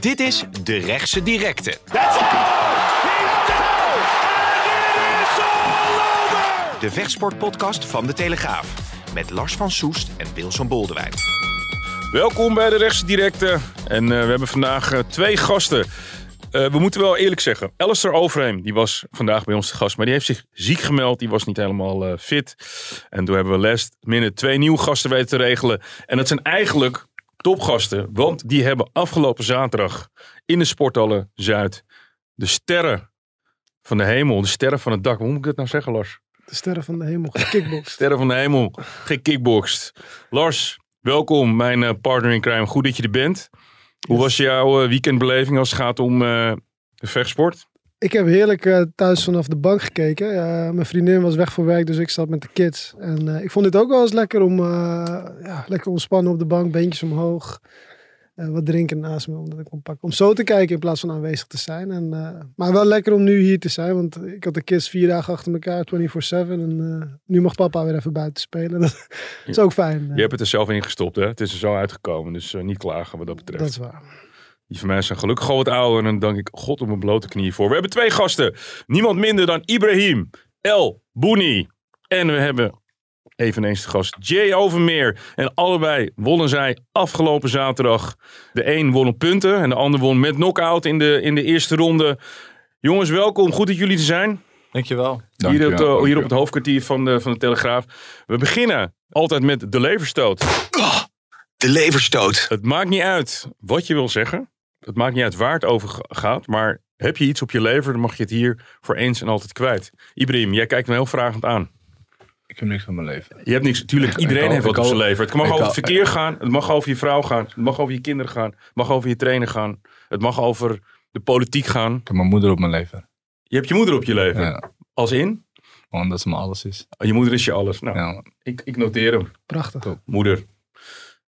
Dit is De Rechtse Directe. De vechtsportpodcast van De Telegraaf. Met Lars van Soest en Wilson Boldewijn. Welkom bij de Rechtsdirecte. En eh, we hebben vandaag eh, twee gasten. Eh, we moeten wel eerlijk zeggen. Alistair Overheem, die was vandaag bij ons te gast. Maar die heeft zich ziek gemeld. Die was niet helemaal eh, fit. En toen hebben we last minute twee nieuwe gasten weten te regelen. En dat zijn eigenlijk topgasten. Want die hebben afgelopen zaterdag in de Sporthalle Zuid de sterren van de hemel. De sterren van het dak. Hoe moet ik dat nou zeggen, Lars? De sterren van de hemel, kickbox. Sterren van de hemel, gekickboxed. Lars, welkom, mijn eh, partner in crime. Goed dat je er bent. Hoe was jouw eh, weekendbeleving als het gaat om eh, de vechtsport? ik heb heerlijk eh, thuis vanaf de bank gekeken. Eh, mijn vriendin was weg voor werk, dus ik zat met de kids. En eh, ik vond dit ook wel eens lekker om eh, ja, lekker ontspannen op de bank, beentjes omhoog. Eh, wat drinken naast me, omdat ik kon pakken. Om zo te kijken in plaats van aanwezig te zijn. En, eh, maar wel lekker om nu hier te zijn, want ik had de kids vier dagen achter elkaar, 24-7. En eh, nu mag papa weer even buiten spelen. Dat is ook fijn. eh. Je hebt het er zelf in gestopt, hè? Het is er zo uitgekomen, dus eh, niet klagen wat dat betreft. dat is waar. Die van mij zijn gelukkig al wat ouder en dan dank ik God op mijn blote knieën voor. We hebben twee gasten. Niemand minder dan Ibrahim El Bouni. En we hebben eveneens de gast Jay Overmeer. En allebei wonnen zij afgelopen zaterdag. De een won op punten en de ander won met knockout in de, in de eerste ronde. Jongens, welkom. Goed dat jullie er zijn. Dankjewel. Hier op, de- hier op het hoofdkwartier van de, van de Telegraaf. We beginnen altijd met de leverstoot. De leverstoot. Het maakt niet uit wat je wil zeggen. Het maakt niet uit waar het over ga- gaat. Maar heb je iets op je lever, dan mag je het hier voor eens en altijd kwijt. Ibrahim, jij kijkt me heel vragend aan. Ik heb niks van mijn leven. Je hebt niks. Tuurlijk, iedereen ik heeft al- wat op ik zijn al- lever. Het mag ik over het al- verkeer gaan. Het mag over je vrouw gaan. Het mag over je kinderen gaan. Het mag over je trainer gaan. Het mag over de politiek gaan. Ik heb mijn moeder op mijn leven. Je hebt je moeder op je lever. Ja, Als in? want dat ze me alles is. Je moeder is je alles. Nou, Ja, man. ik, ik noteer hem. Prachtig. Moeder.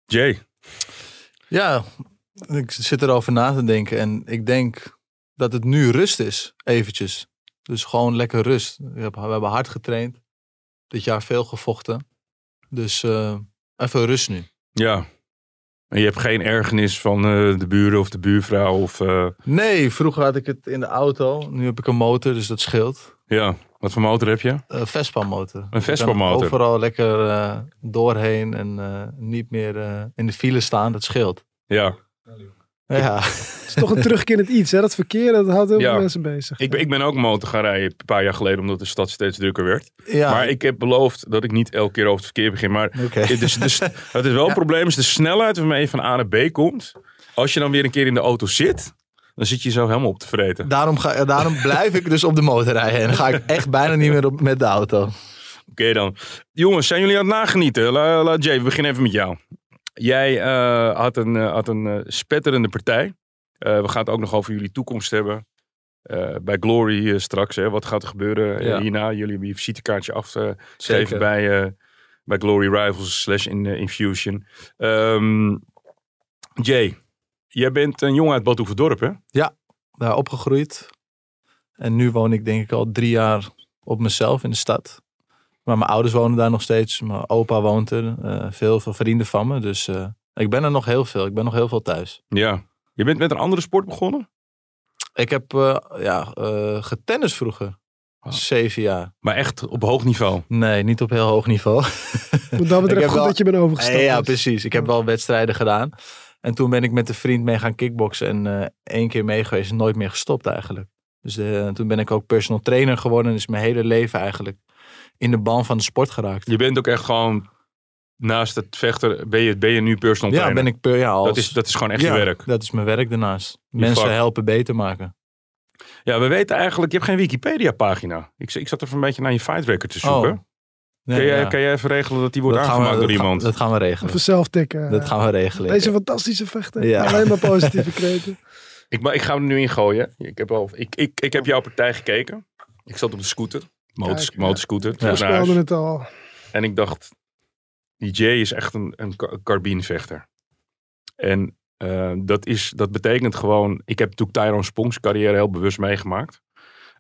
Jay, Ja, ik zit erover na te denken. En ik denk dat het nu rust is, eventjes. Dus gewoon lekker rust. We hebben, we hebben hard getraind. Dit jaar veel gevochten. Dus eh, even rust nu. ja. En je hebt geen ergernis van eh, de buren of de buurvrouw of... eh, Nee, vroeger had ik het in de auto. Nu heb ik een motor, dus dat scheelt. Ja, wat voor motor heb je? Eh Vespa motor. Vespa-motor. Overal lekker eh, doorheen en eh, niet meer eh, in de file staan. Dat scheelt. Ja, Ja. Het is toch een terugkerend iets, hè? Dat verkeer, dat houdt heel Ja. veel mensen bezig. ik ben, ik ben ook motor gaan rijden een paar jaar geleden, omdat de stad steeds drukker werd. ja. Maar ik heb beloofd dat ik niet elke keer over het verkeer begin. Maar Oké. het is, dus, het is wel een probleem, is de snelheid waarmee je van A naar B komt. Als je dan weer een keer in de auto zit, dan zit je zo helemaal op te vreten. Daarom, ga, eh, daarom blijf ik dus op de motor rijden. En dan ga ik echt bijna niet meer op, met de auto. Oké dan. Jongens, zijn jullie aan het nagenieten? La, la, Jay, we beginnen even met jou. Jij eh, had een, eh, had een eh, spetterende partij. Eh, we gaan het ook nog over jullie toekomst hebben. Eh, bij Glory eh, straks. Hè. Wat gaat er gebeuren eh, Ja. hierna? Jullie hebben je visitekaartje afgegeven Zeker. bij, eh, bij Glory Rivals slash in, eh, Infusion. Ehm, Jay, jij bent een jongen uit Bad Oeverdorp, hè? Daar opgegroeid. En nu woon ik denk ik al drie jaar op mezelf in de stad. Maar mijn ouders wonen daar nog steeds. Mijn opa woont er. eh, veel, veel vrienden van me. Dus eh, ik ben er nog heel veel. Ik ben nog heel veel thuis. Ja. Je bent met een andere sport begonnen? Ik heb eh, ja, eh getennis vroeger. Ah. Zeven jaar. Maar echt op hoog niveau. Nee, niet op heel hoog niveau. Wat dat Ik betreft heb goed wel- dat je bent overgestapt. Ja, ja, dus. precies. Ik heb wel wedstrijden gedaan. En toen ben ik met een vriend mee gaan kickboksen. En eh, één keer mee geweest en nooit meer gestopt eigenlijk. Dus de- toen ben ik ook personal trainer geworden. Dus mijn hele leven eigenlijk in de ban van de sport geraakt. Je bent ook echt gewoon naast het vechter ben je, ben je nu personal Ja, trainer. ben ik per ja, als, dat, is, dat is gewoon echt ja, je werk. Dat is mijn werk daarnaast. Je Mensen vak. helpen beter maken. Ja, we weten eigenlijk, je hebt geen Wikipedia pagina. Ik, z- ik zat even een beetje naar je fight record te zoeken. Oh. Nee, kan, jij, ja. kan jij even regelen dat die wordt Dat gaan we- aangemaakt door dat gaan- iemand? Dat gaan we regelen. Even zelf tikken. Dat gaan we regelen. Deze fantastische vechter. Ja. Alleen maar positieve kreten. Ik, maar ik ga hem er nu in gooien. Ik heb, al, ik, ik, ik heb jouw partij gekeken. Ik zat op de scooter. Motors, Kijk, ja. motorscooter. We terug naar huis. speelden het al. En ik dacht, die Jay is echt een, een ka- karbinevechter. En eh, dat, is, dat betekent gewoon, ik heb natuurlijk Tyrone Spongs carrière heel bewust meegemaakt.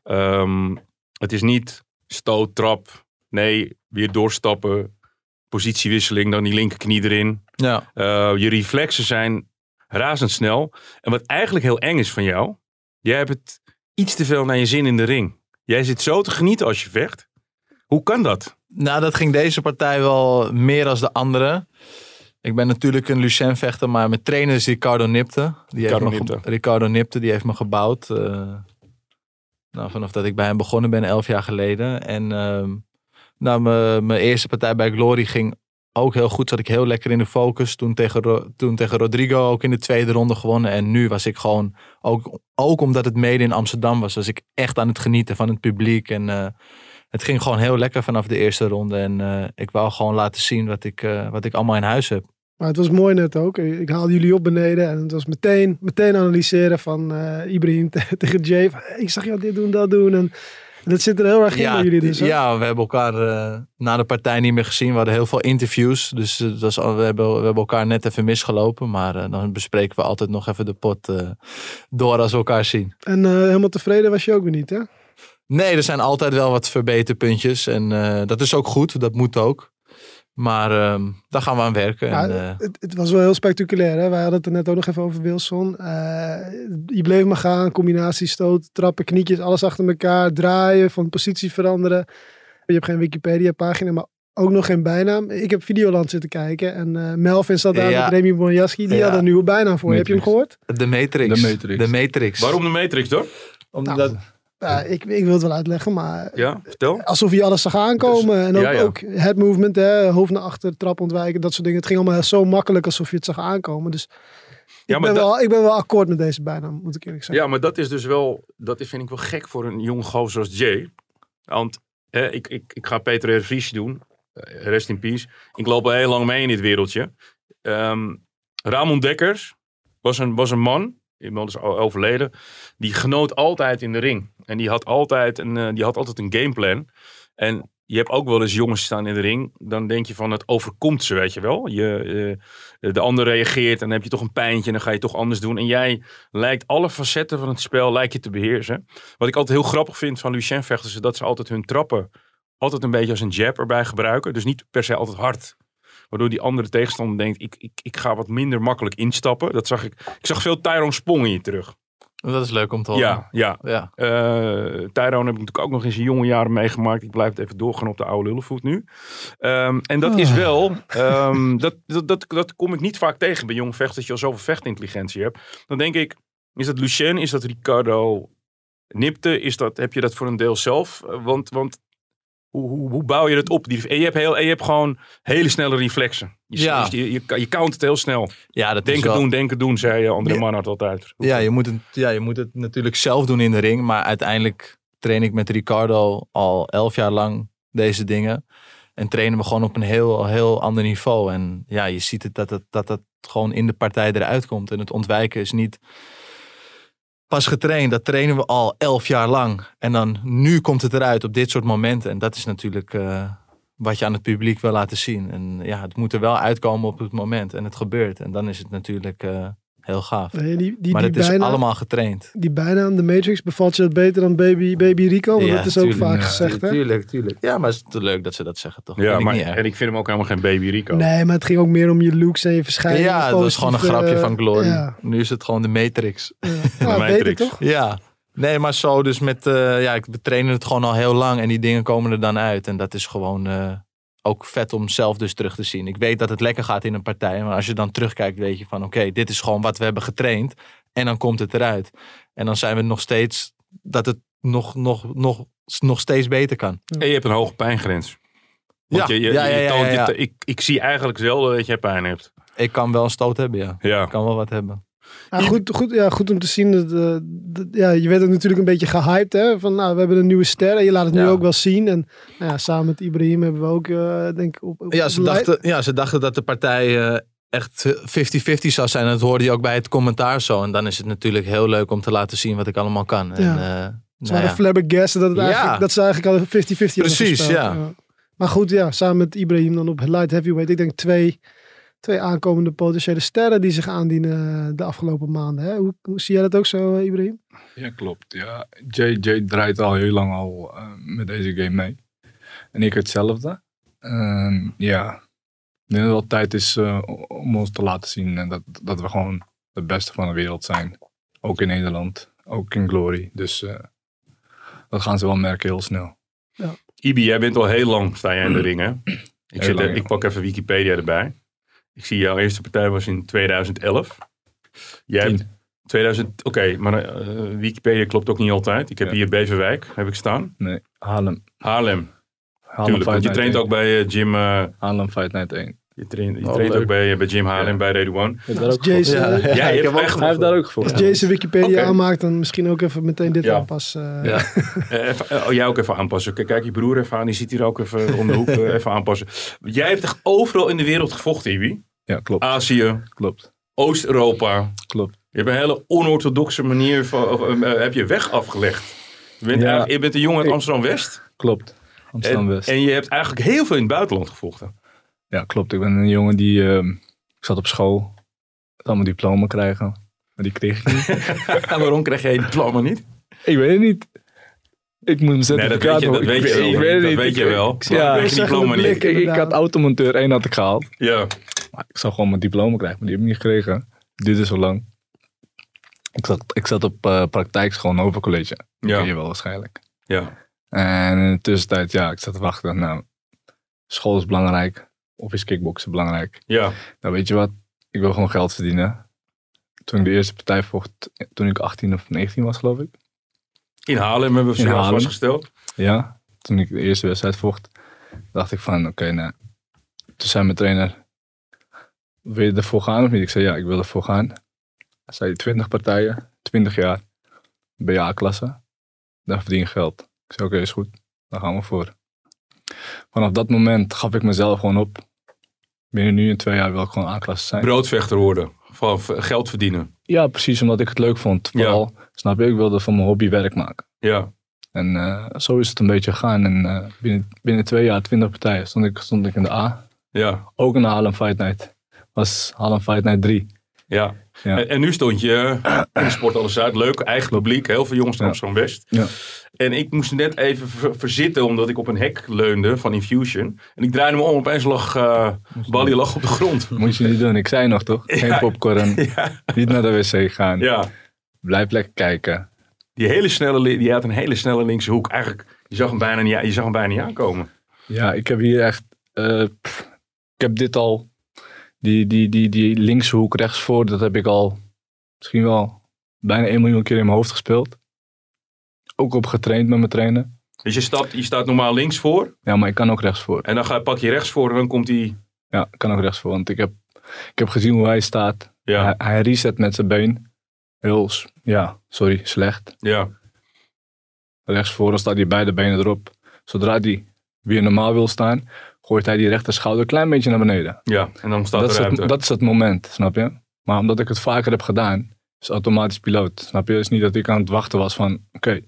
Ehm, het is niet stoot, trap, nee, weer doorstappen, positiewisseling, dan die linkerknie erin. Ja, Eh, je reflexen zijn razendsnel. En wat eigenlijk heel eng is van jou, jij hebt het iets te veel naar je zin in de ring. Jij zit zo te genieten als je vecht. Hoe kan dat? nou dat ging deze partij wel meer als de andere. Ik ben natuurlijk een Lucien vechter, maar mijn trainer is Ricardo Nipte. Die Ricardo heeft me ge- Nipte. Ricardo Nipte, die heeft me gebouwd. eh, nou, vanaf dat ik bij hem begonnen ben, elf jaar geleden. En ehm nou, mijn- mijn eerste partij bij Glory ging ook heel goed. Zat ik heel lekker in de focus. Toen tegen, Ro- toen tegen Rodrigo ook in de tweede ronde gewonnen. En nu was ik gewoon, ook, ook omdat het mede in Amsterdam was, was ik echt aan het genieten van het publiek. En eh, het ging gewoon heel lekker vanaf de eerste ronde. En eh, ik wou gewoon laten zien wat ik, eh, wat ik allemaal in huis heb. Maar het was mooi net ook. Ik haalde jullie op beneden en het was meteen, meteen analyseren van eh, Ibrahim te- tegen Jay. Van, "Hey, Ik zag jou dit doen, dat doen. En, en dat zit er heel erg in bij jullie dus. hè? ja, we hebben elkaar eh, na de partij niet meer gezien. We hadden heel veel interviews. Dus het was al, we, hebben, we hebben elkaar net even misgelopen. Maar eh, dan bespreken we altijd nog even de pot eh, door als we elkaar zien. En eh, helemaal tevreden was je ook weer niet, hè? Nee, er zijn altijd wel wat verbeterpuntjes. En eh, dat is ook goed. Dat moet ook. Maar ehm, daar gaan we aan werken. Ja, en, eh, Het, het was wel heel spectaculair, hè? Wij hadden het er net ook nog even over Wilson. Eh, je bleef maar gaan, combinatie, stoot, trappen, knietjes, alles achter elkaar, draaien, van positie veranderen. Je hebt geen Wikipedia-pagina, maar ook nog geen bijnaam. Ik heb Videoland zitten kijken en eh, Melvin zat daar Ja. met Remy Bonjasky. Die Ja. had een nieuwe bijnaam voor je. Heb je hem Matrix. gehoord? de Matrix. De Matrix. De Matrix. Waarom de Matrix dan? Omdat, Nou, Ja, ik, ik wil het wel uitleggen, maar Ja, vertel. alsof je alles zag aankomen. Dus, en ook, ja, ja. ook head movement, hè, hoofd naar achter, trap ontwijken, dat soort dingen. Het ging allemaal zo makkelijk alsof je het zag aankomen. Dus Ja, ik, maar ben dat- wel, ik ben wel akkoord met deze bijnaam, moet ik eerlijk zeggen. Ja, maar dat is dus wel, dat is- vind ik wel gek voor een jong gozer als Jay. Want hè, ik, ik, ik ga Peter Hervies doen, Eh, rest in peace. Ik loop al heel lang mee in dit wereldje. Ehm, Ramon Dekkers was een, was een man, inmiddels al overleden, die genoot altijd in de ring. En die had altijd een, eh, die had altijd een gameplan. En je hebt ook wel eens jongens staan in de ring. Dan denk je van, het overkomt ze, weet je wel. Je, eh, de ander reageert en dan heb je toch een pijntje en dan ga je toch anders doen. En jij lijkt alle facetten van het spel lijkt je te beheersen. Wat ik altijd heel grappig vind van Lucien vechters is dat ze altijd hun trappen altijd een beetje als een jab erbij gebruiken. Dus niet per se altijd hard. Waardoor die andere tegenstander denkt, ik, ik, ik ga wat minder makkelijk instappen. Dat zag ik. Ik zag veel Tyrone Spong in je terug. dat is leuk om te horen. Ja, ja. Ja. Eh, Tyrone heb ik natuurlijk ook nog in zijn jonge jaren meegemaakt. Ik blijf het even doorgaan op de oude lullenvoet nu. Ehm, en dat Ah. is wel, ehm, dat, dat, dat, dat kom ik niet vaak tegen bij jonge vechters. Dat je al zoveel vechtintelligentie hebt. Dan denk ik, is dat Lucien, is dat Ricardo Nipte? Is dat, heb je dat voor een deel zelf? Eh, Want, want hoe, hoe, hoe bouw je dat op? Die- En je hebt, heel, en je hebt gewoon hele snelle reflexen. Je, Ja. je, je, je count het heel snel. ja, dat is Denken wel... doen, denken doen, zei eh, André Ja. Manhart altijd. Ja, je moet, het, ja, je moet het natuurlijk zelf doen in de ring. Maar uiteindelijk train ik met Ricardo al elf jaar lang deze dingen. En trainen we gewoon op een heel, heel ander niveau. En ja, je ziet het dat het, dat het gewoon in de partij eruit komt. En het ontwijken is niet pas getraind. Dat trainen we al elf jaar lang. En dan nu komt het eruit op dit soort momenten. En dat is natuurlijk eh, wat je aan het publiek wil laten zien. En ja, het moet er wel uitkomen op het moment. En het gebeurt. En dan is het natuurlijk eh, heel gaaf Nee, die, die, maar die, het is bijnaam, allemaal getraind. die bijnaam, de Matrix, bevalt je dat beter dan Baby, baby Rico? Want Oh, dat is ook vaak gezegd, hè? Tuurlijk, tuurlijk. Ja, maar het is te leuk dat ze dat zeggen, toch? Ja, Vind ik maar, niet erg. en ik vind hem ook helemaal geen baby Rico. Nee, maar het ging ook meer om je looks en je verschijning. ja, het was gewoon een positieve, grapje van Glory. Ja, Nu is het gewoon de Matrix. ja. Ja, Matrix. beter toch? Ja. Nee, maar zo dus met... eh, ja, ik we trainen het gewoon al heel lang en die dingen komen er dan uit. En dat is gewoon eh, ook vet om zelf dus terug te zien. Ik weet dat het lekker gaat in een partij. Maar als je dan terugkijkt, weet je van... Oké, dit is gewoon wat we hebben getraind. En dan komt het eruit. En dan zijn we nog steeds... Dat het nog, nog, nog, nog steeds beter kan. En je hebt een hoge pijngrens. Want Ja, je, je, ja, je ja, ja, toont je ja. te- ik, ik zie eigenlijk zelden dat je pijn hebt. Ik kan wel een stoot hebben, ja. Ja. Ik kan wel wat hebben. Ja, Ah, goed, goed, ja, goed om te zien. Dat, eh, dat- ja, je werd ook natuurlijk een beetje gehyped. Hè? Van nou, we hebben een nieuwe ster. En je laat het nu Ja. ook wel zien. En nou ja, samen met Ibrahim hebben we ook, eh, denk ik... Op, op- Ja, op ze lij- dachten, ja, ze dachten dat de partij eh, echt 50-50 zou zijn. Dat hoorde je ook bij het commentaar zo. En dan is het natuurlijk heel leuk om te laten zien wat ik allemaal kan. En, Ja. eh, Ze nou waren ja. flabbergasted dat, het Ja. eigenlijk, dat ze eigenlijk al 50-50 hadden Precies, gespeeld. ja. Maar goed, ja, samen met Ibrahim dan op light heavyweight. Ik denk twee, twee aankomende potentiële sterren die zich aandienen eh, de afgelopen maanden. Hè? Hoe, hoe zie jij dat ook zo, eh, Ibrahim? Ja, klopt. Ja, JJ draait al heel lang al eh, met deze game mee. En ik hetzelfde. Ehm, ja, ik denk dat het wel tijd is eh, om ons te laten zien en dat, dat we gewoon de beste van de wereld zijn. Ook in Nederland, ook in Glory. Dus eh, dat gaan ze wel merken heel snel. Ibi, jij bent al heel lang, sta jij in de ring, hè? Mm. Ik, Heel zit, lang, er- ja. ik pak even Wikipedia erbij. Ik zie jouw eerste partij was in 2011. Jij hebt Tien. 2000, oké, maar eh, Wikipedia klopt ook niet altijd. Ik heb Ja. hier Beverwijk, heb ik staan. Nee, Haarlem. Haarlem, Haarlem natuurlijk. Want je Fight Night traint 1. ook bij eh, Jim, eh, Haarlem Fight Night 1. je traint, je Oh, traint leuk. ook bij, eh, bij Jim Haarlem, bij Redouane. Als Jason, Ja, Ja, ja. je hebt echt, Hij heeft daar ook voor. als Jason Wikipedia Oké. aanmaakt, dan misschien ook even meteen dit Ja. aanpassen. eh. Ja. eh, even, eh, oh, jij ook even aanpassen. Kijk, kijk je broer even aan, die zit hier ook even om de hoek eh, even aanpassen. Jij hebt echt overal in de wereld gevochten, Ibi. Ja, klopt. Ah. Azië, Klopt. Oost-Europa, Klopt. Je hebt een hele onorthodoxe manier van, of, eh, heb je weg afgelegd. Je bent, Ja. eigenlijk- je bent een jongen uit Amsterdam-West. Klopt. Amsterdam En, West. en je hebt eigenlijk heel veel in het buitenland gevochten. Ja, klopt. Ik ben een jongen die. ehm, ik zat op school. Ik had mijn diploma krijgen. Maar die kreeg ik niet. En waarom krijg jij die diploma niet? Ik weet het niet. Ik moet hem Nee, zetten. dat weet je, dat weet je wel. Ik weet het dat niet. weet je Ik- wel. ik- Maar ja, krijg je die zeggen diploma de niet. blikken. Ik, ik had automonteur 1 had ik gehaald. Ja. Maar ik zou gewoon mijn diploma krijgen, maar die heb ik niet gekregen. Dit is zo lang. Ik zat, ik zat op eh praktijkschool, Novencollege. Ja. Ken Ja. je wel waarschijnlijk. ja. En in de tussentijd, ja, ik zat te wachten. Nou, school is belangrijk. Of is kickboksen belangrijk. ja. Nou, weet je wat? Ik wil gewoon geld verdienen. Toen ik de eerste partij vocht, eh, toen ik 18 of 19 was, geloof ik. In Haarlem hebben we In zelf Haarlem. vastgesteld. Ja, toen ik de eerste wedstrijd vocht, dacht ik van, oké, nou. Toen zei mijn trainer, wil je ervoor gaan of niet? Ik zei, ja, ik wil ervoor gaan. Hij zei, 20 partijen, 20 jaar, BA-klasse, dan verdien je geld. Ik zei, oké, is goed, daar gaan we voor. Vanaf dat moment gaf ik mezelf gewoon op. Binnen nu en twee jaar wil ik gewoon A-klasse zijn. Broodvechter worden. Van v- geld verdienen. Ja, precies, omdat ik het leuk vond. Ja. Vooral, snap je, ik wilde van mijn hobby werk maken. Ja. En eh, zo is het een beetje gegaan. En eh, binnen, binnen twee jaar, twintig partijen, stond ik, stond ik in de A. Ja. Ook in de Harlem Fight Night. Was Harlem Fight Night 3. Ja. Ja. En, en nu stond je eh, in de Sport Alles Zuid. Leuk, eigen publiek. Heel veel jongens van Ja. Amsterdam-West. Ja. En ik moest net even ver- verzitten omdat ik op een hek leunde van Infusion. En ik draaide me om. Opeens lag eh Bali lag op de grond. Moet je niet doen, ik zei nog toch? Geen popcorn, Ja. niet naar de wc gaan. ja. Blijf lekker kijken. Die, hele snelle, li- die had een hele snelle linkse hoek. Eigenlijk, je zag hem bijna niet, je zag hem bijna niet aankomen. Ja, ik heb hier echt... eh, pff, ik heb dit al... Die, die, die, die linkse hoek rechtsvoor, dat heb ik al misschien wel bijna 1 miljoen keer in mijn hoofd gespeeld. Ook op getraind met mijn trainer. Dus je, stapt, je staat normaal links voor. Ja, maar ik kan ook rechtsvoor. En dan ga, pak je rechts voor en dan komt hij... Ja, ik kan ook rechtsvoor, want ik heb, ik heb gezien hoe hij staat. Ja, Hij, hij reset met zijn been. Heel, s- ja, sorry, slecht. ja, Rechtsvoor staat hij beide benen erop. Zodra hij weer normaal wil staan, gooit hij die rechter schouder een klein beetje naar beneden. ja. En dan staat dat, er is ruimte. het, dat is het moment, snap je? Maar omdat ik het vaker heb gedaan, is automatisch piloot. Snap je? Het is niet dat ik aan het wachten was van, oké.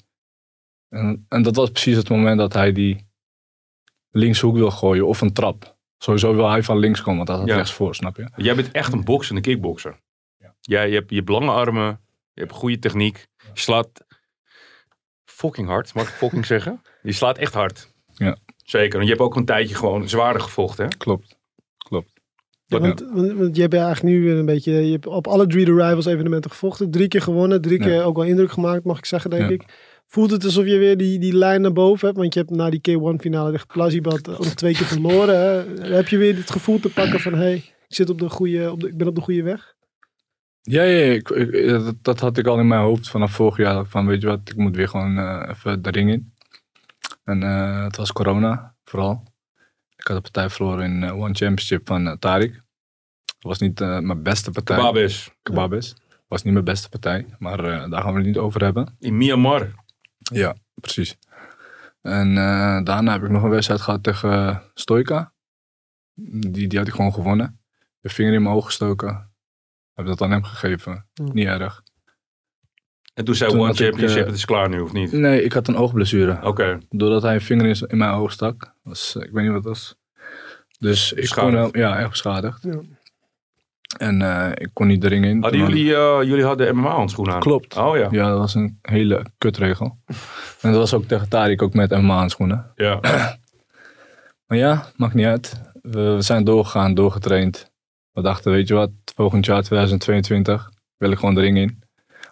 En, en dat was precies het moment dat hij die linkshoek wil gooien of een trap. Sowieso wil hij van links komen, want hij had Ja. rechtsvoor, snap je? Jij bent echt een bokser, een kickbokser. Jij je hebt je hebt lange armen, je hebt goede techniek. Je slaat fucking hard, mag ik fucking zeggen? Je slaat echt hard. Ja. Zeker, en je hebt ook een tijdje gewoon zwaarder gevochten. Hè? Klopt. Ja, want, want, want je hebt eigenlijk nu weer een beetje, je hebt op alle drie de Rivals evenementen gevochten. Drie keer gewonnen, drie Ja. keer ook wel indruk gemaakt, mag ik zeggen, denk Ja. ik. Voelt het alsof je weer die, die lijn naar boven hebt? Want je hebt na die K1-finale tegen Plazibad ook nog twee keer verloren. Hè? Heb je weer het gevoel te pakken van, hey, ik, zit op de goede, op de, ik ben op de goede weg? Ja, ja, ja, ik, ik- dat, dat had ik al in mijn hoofd vanaf vorig jaar. Van weet je wat, ik moet weer gewoon eh, even de ring in. En eh, het was corona, vooral. Ik had een partij verloren in eh, One Championship van eh, Tariq. Dat was niet eh, mijn beste partij. Kebab is. Kebab is. Was niet mijn beste partij, maar eh, daar gaan we het niet over hebben. In Myanmar. Ja, precies. En eh, daarna heb ik nog een wedstrijd gehad tegen eh, Stoika. Die, die had ik gewoon gewonnen. De vinger in mijn oog gestoken. Heb dat aan hem gegeven. Hm. Niet erg. En toen zei Toen One had ik, Championship, eh, het is klaar nu, of niet? Nee, ik had een oogblessure. Oké, Doordat hij een vinger in, z- in mijn oog stak. Was, eh, ik weet niet wat het was. Dus ik kon Beschadigd. wel, ja, echt beschadigd. Ja. En eh, ik kon niet de ring in. hadden Toen had- jullie, eh, jullie hadden MMA-handschoenen aan? Klopt. Oh ja. Ja, dat was een hele kutregel. en dat was ook tegen Tariq, ook met MMA-handschoenen. ja. Maar ja, maakt niet uit. We, we zijn doorgegaan, doorgetraind. We dachten, weet je wat, volgend jaar 2022 wil ik gewoon de ring in.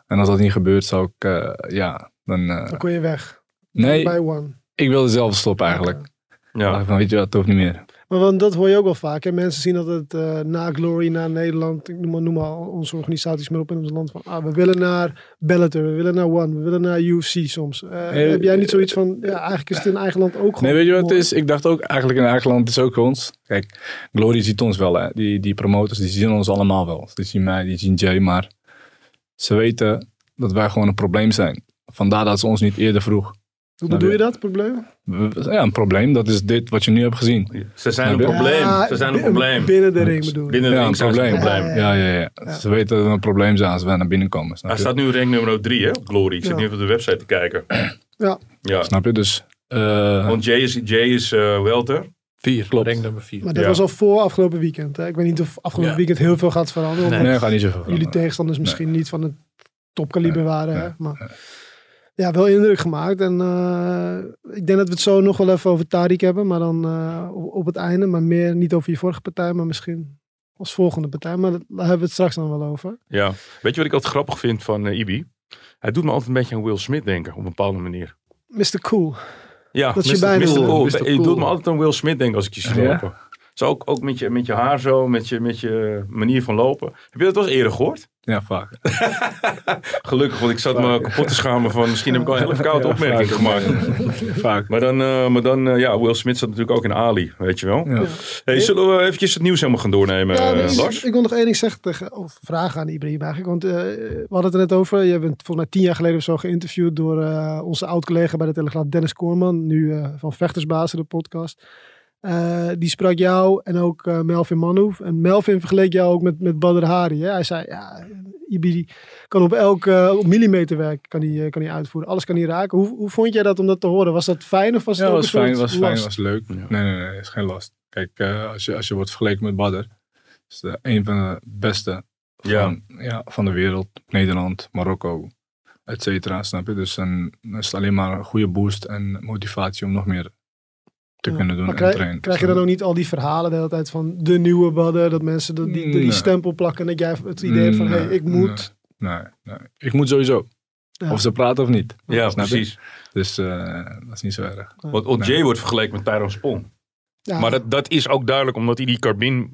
En als dat niet gebeurt, zou ik, eh, ja, dan... eh, Dan kon je weg. nee, Bij One. ik wilde zelf stoppen eigenlijk. ja. Dacht ik van, weet je wat, het hoeft niet meer. Maar want dat hoor je ook wel vaak. Hè? Mensen zien altijd eh, na Glory, na Nederland, ik noem maar, noem maar al onze organisaties maar op in ons land. Van, ah, we willen naar Bellator, we willen naar One, we willen naar UFC soms. Eh, Nee, heb jij niet zoiets van, ja, eigenlijk is het in eigen land ook gewoon... Nee, weet je wat het mooi. is? Ik dacht ook, eigenlijk in eigen land het is ook ons. Kijk, Glory ziet ons wel, hè. Die, die promotors, die zien ons allemaal wel. Die zien mij, die zien Jay, maar ze weten dat wij gewoon een probleem zijn. Vandaar dat ze ons niet eerder vroeg. Hoe bedoel je dat, probleem? We- we- Ja, een probleem, dat is dit wat je nu hebt gezien. Ze zijn Ja, een ben- probleem. Ja, Ze zijn een binnen- probleem. Binnen de ring bedoel ik. Binnen de Ja, ring een zijn ze een probleem. probleem. Ja, ja, ja. Ze weten dat we een probleem zijn als wij naar binnen komen. Snap Hij je? staat nu rank nummer 3, hè? op Glory. Ik zit Ja. nu even op de website te kijken. Ja. ja. Snap je? Dus, eh, Want Jay is, Jay is eh, welter. Vier, klopt. Ring nummer vier. Maar dat Ja. was al voor afgelopen weekend. Hè? Ik weet niet of afgelopen Ja. weekend heel veel gaat veranderen. Nee. omdat nee, gaat niet zoveel Jullie veranderen. tegenstanders misschien niet van het topkaliber waren. hè? nee, Maar ja, wel indruk gemaakt. En eh, ik denk dat we het zo nog wel even over Tariq hebben. Maar dan eh, op, op het einde. Maar meer niet over je vorige partij. Maar misschien als volgende partij. Maar dat- daar hebben we het straks dan wel over. Ja. Weet je wat ik altijd grappig vind van eh, Ibi? Hij doet me altijd een beetje aan Will Smith denken, op een bepaalde manier. Mr. Cool. Ja, Dat is je bijna- Mr. Cool. Mr. Je Cool. doet me altijd aan Will Smith denken als ik je zie Ja? lopen. Zo ook, ook met, je, met je haar zo, met je, met je manier van lopen. Heb je dat wel eens eerder gehoord? Ja, vaak. Gelukkig, want ik zat me kapot te schamen van misschien heb ik al een hele verkoude Ja, opmerking vaak. gemaakt. vaak. Maar dan, eh, maar dan eh, ja, Will Smith zat natuurlijk ook in Ali, weet je wel. Ja. Hey, zullen we eventjes het nieuws helemaal gaan doornemen, Ja, dus- eh, nee, Lars? ik wil nog één ding zeggen tegen, of vragen aan Ibrahim eigenlijk. Want eh, we hadden het er net over. Je bent volgens mij tien jaar geleden of zo geïnterviewd door eh, onze oud-collega bij de Telegraaf, Dennis Koorman. Nu eh, van Vechtersbazen, de podcast. Eh, die sprak jou en ook eh, Melvin Manhoef. En Melvin vergeleek jou ook met, met Badr Hari. Hè? Hij zei, ja, Ibi die kan op elk eh, op millimeterwerk kan hij, eh, kan hij uitvoeren. Alles kan hij raken. Hoe, hoe vond jij dat om dat te horen? Was dat fijn of was het Ja, ook was een soort fijn, was fijn, last? was leuk. Nee, nee, nee, is geen last. Kijk, eh, als, je, als je wordt vergeleken met Badder, is de, een van de beste Ja, van, ja, van de wereld. Nederland, Marokko, et cetera, snap je? Dus dan is het alleen maar een goede boost en motivatie om nog meer te Ja. kunnen doen Maar en krijg, trainen. krijg je dan ook niet al die verhalen de hele tijd van de nieuwe badden, dat mensen dat die, die Nee. stempel plakken en dat jij het idee hebt van hé, hey, ik moet. Mm, Nee, nee, nee. ik moet sowieso. Ja. Of ze praten of niet. ja Snap je? precies. Dus eh, dat is niet zo erg. Want OJ wordt vergeleken met Tyron Spong. Ja, Maar dat, dat is ook duidelijk omdat hij die carbine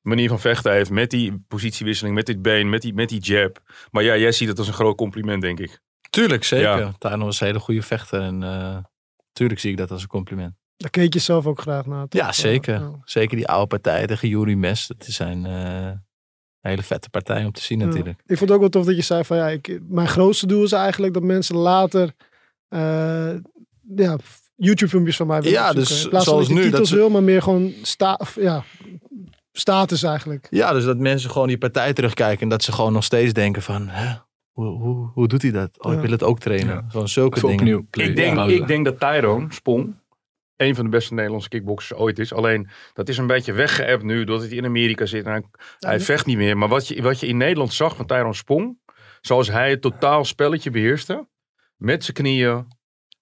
manier van vechten heeft. Met die positiewisseling, met dit been, met die, met die jab. Maar ja, jij ziet het als een groot compliment, denk ik. Tuurlijk, zeker. Ja. Tano is een hele goede vechter. En eh, tuurlijk zie ik dat als een compliment. daar keek je zelf ook graag naar. toch? Ja, zeker. Ja. Zeker die oude partij tegen Juri Mes. Dat is zijn eh, hele vette partij om te zien Ja. natuurlijk. Ik vond het ook wel tof dat je zei van ja, ik, mijn grootste doel is eigenlijk dat mensen later eh, ja, YouTube filmpjes van mij willen Ja, opzoeken. dus In plaats van zoals dat je nu, dat titels ze- wil, maar meer gewoon sta, of, ja, status eigenlijk. Ja, dus dat mensen gewoon die partij terugkijken. En dat ze gewoon nog steeds denken van... Hè, hoe, hoe, hoe doet hij dat? Oh, Ja. ik wil het ook trainen. Ja. Gewoon zulke Even dingen. opnieuw. play, Ik denk, pauze. ik denk dat Tyron Spong een van de beste Nederlandse kickboxers ooit is. Alleen, dat is een beetje weggeëpt nu, doordat hij in Amerika zit. En hij, hij vecht niet meer. Maar wat je, wat je in Nederland zag van Tyron Spong, zoals hij het totaal spelletje beheerste, met zijn knieën.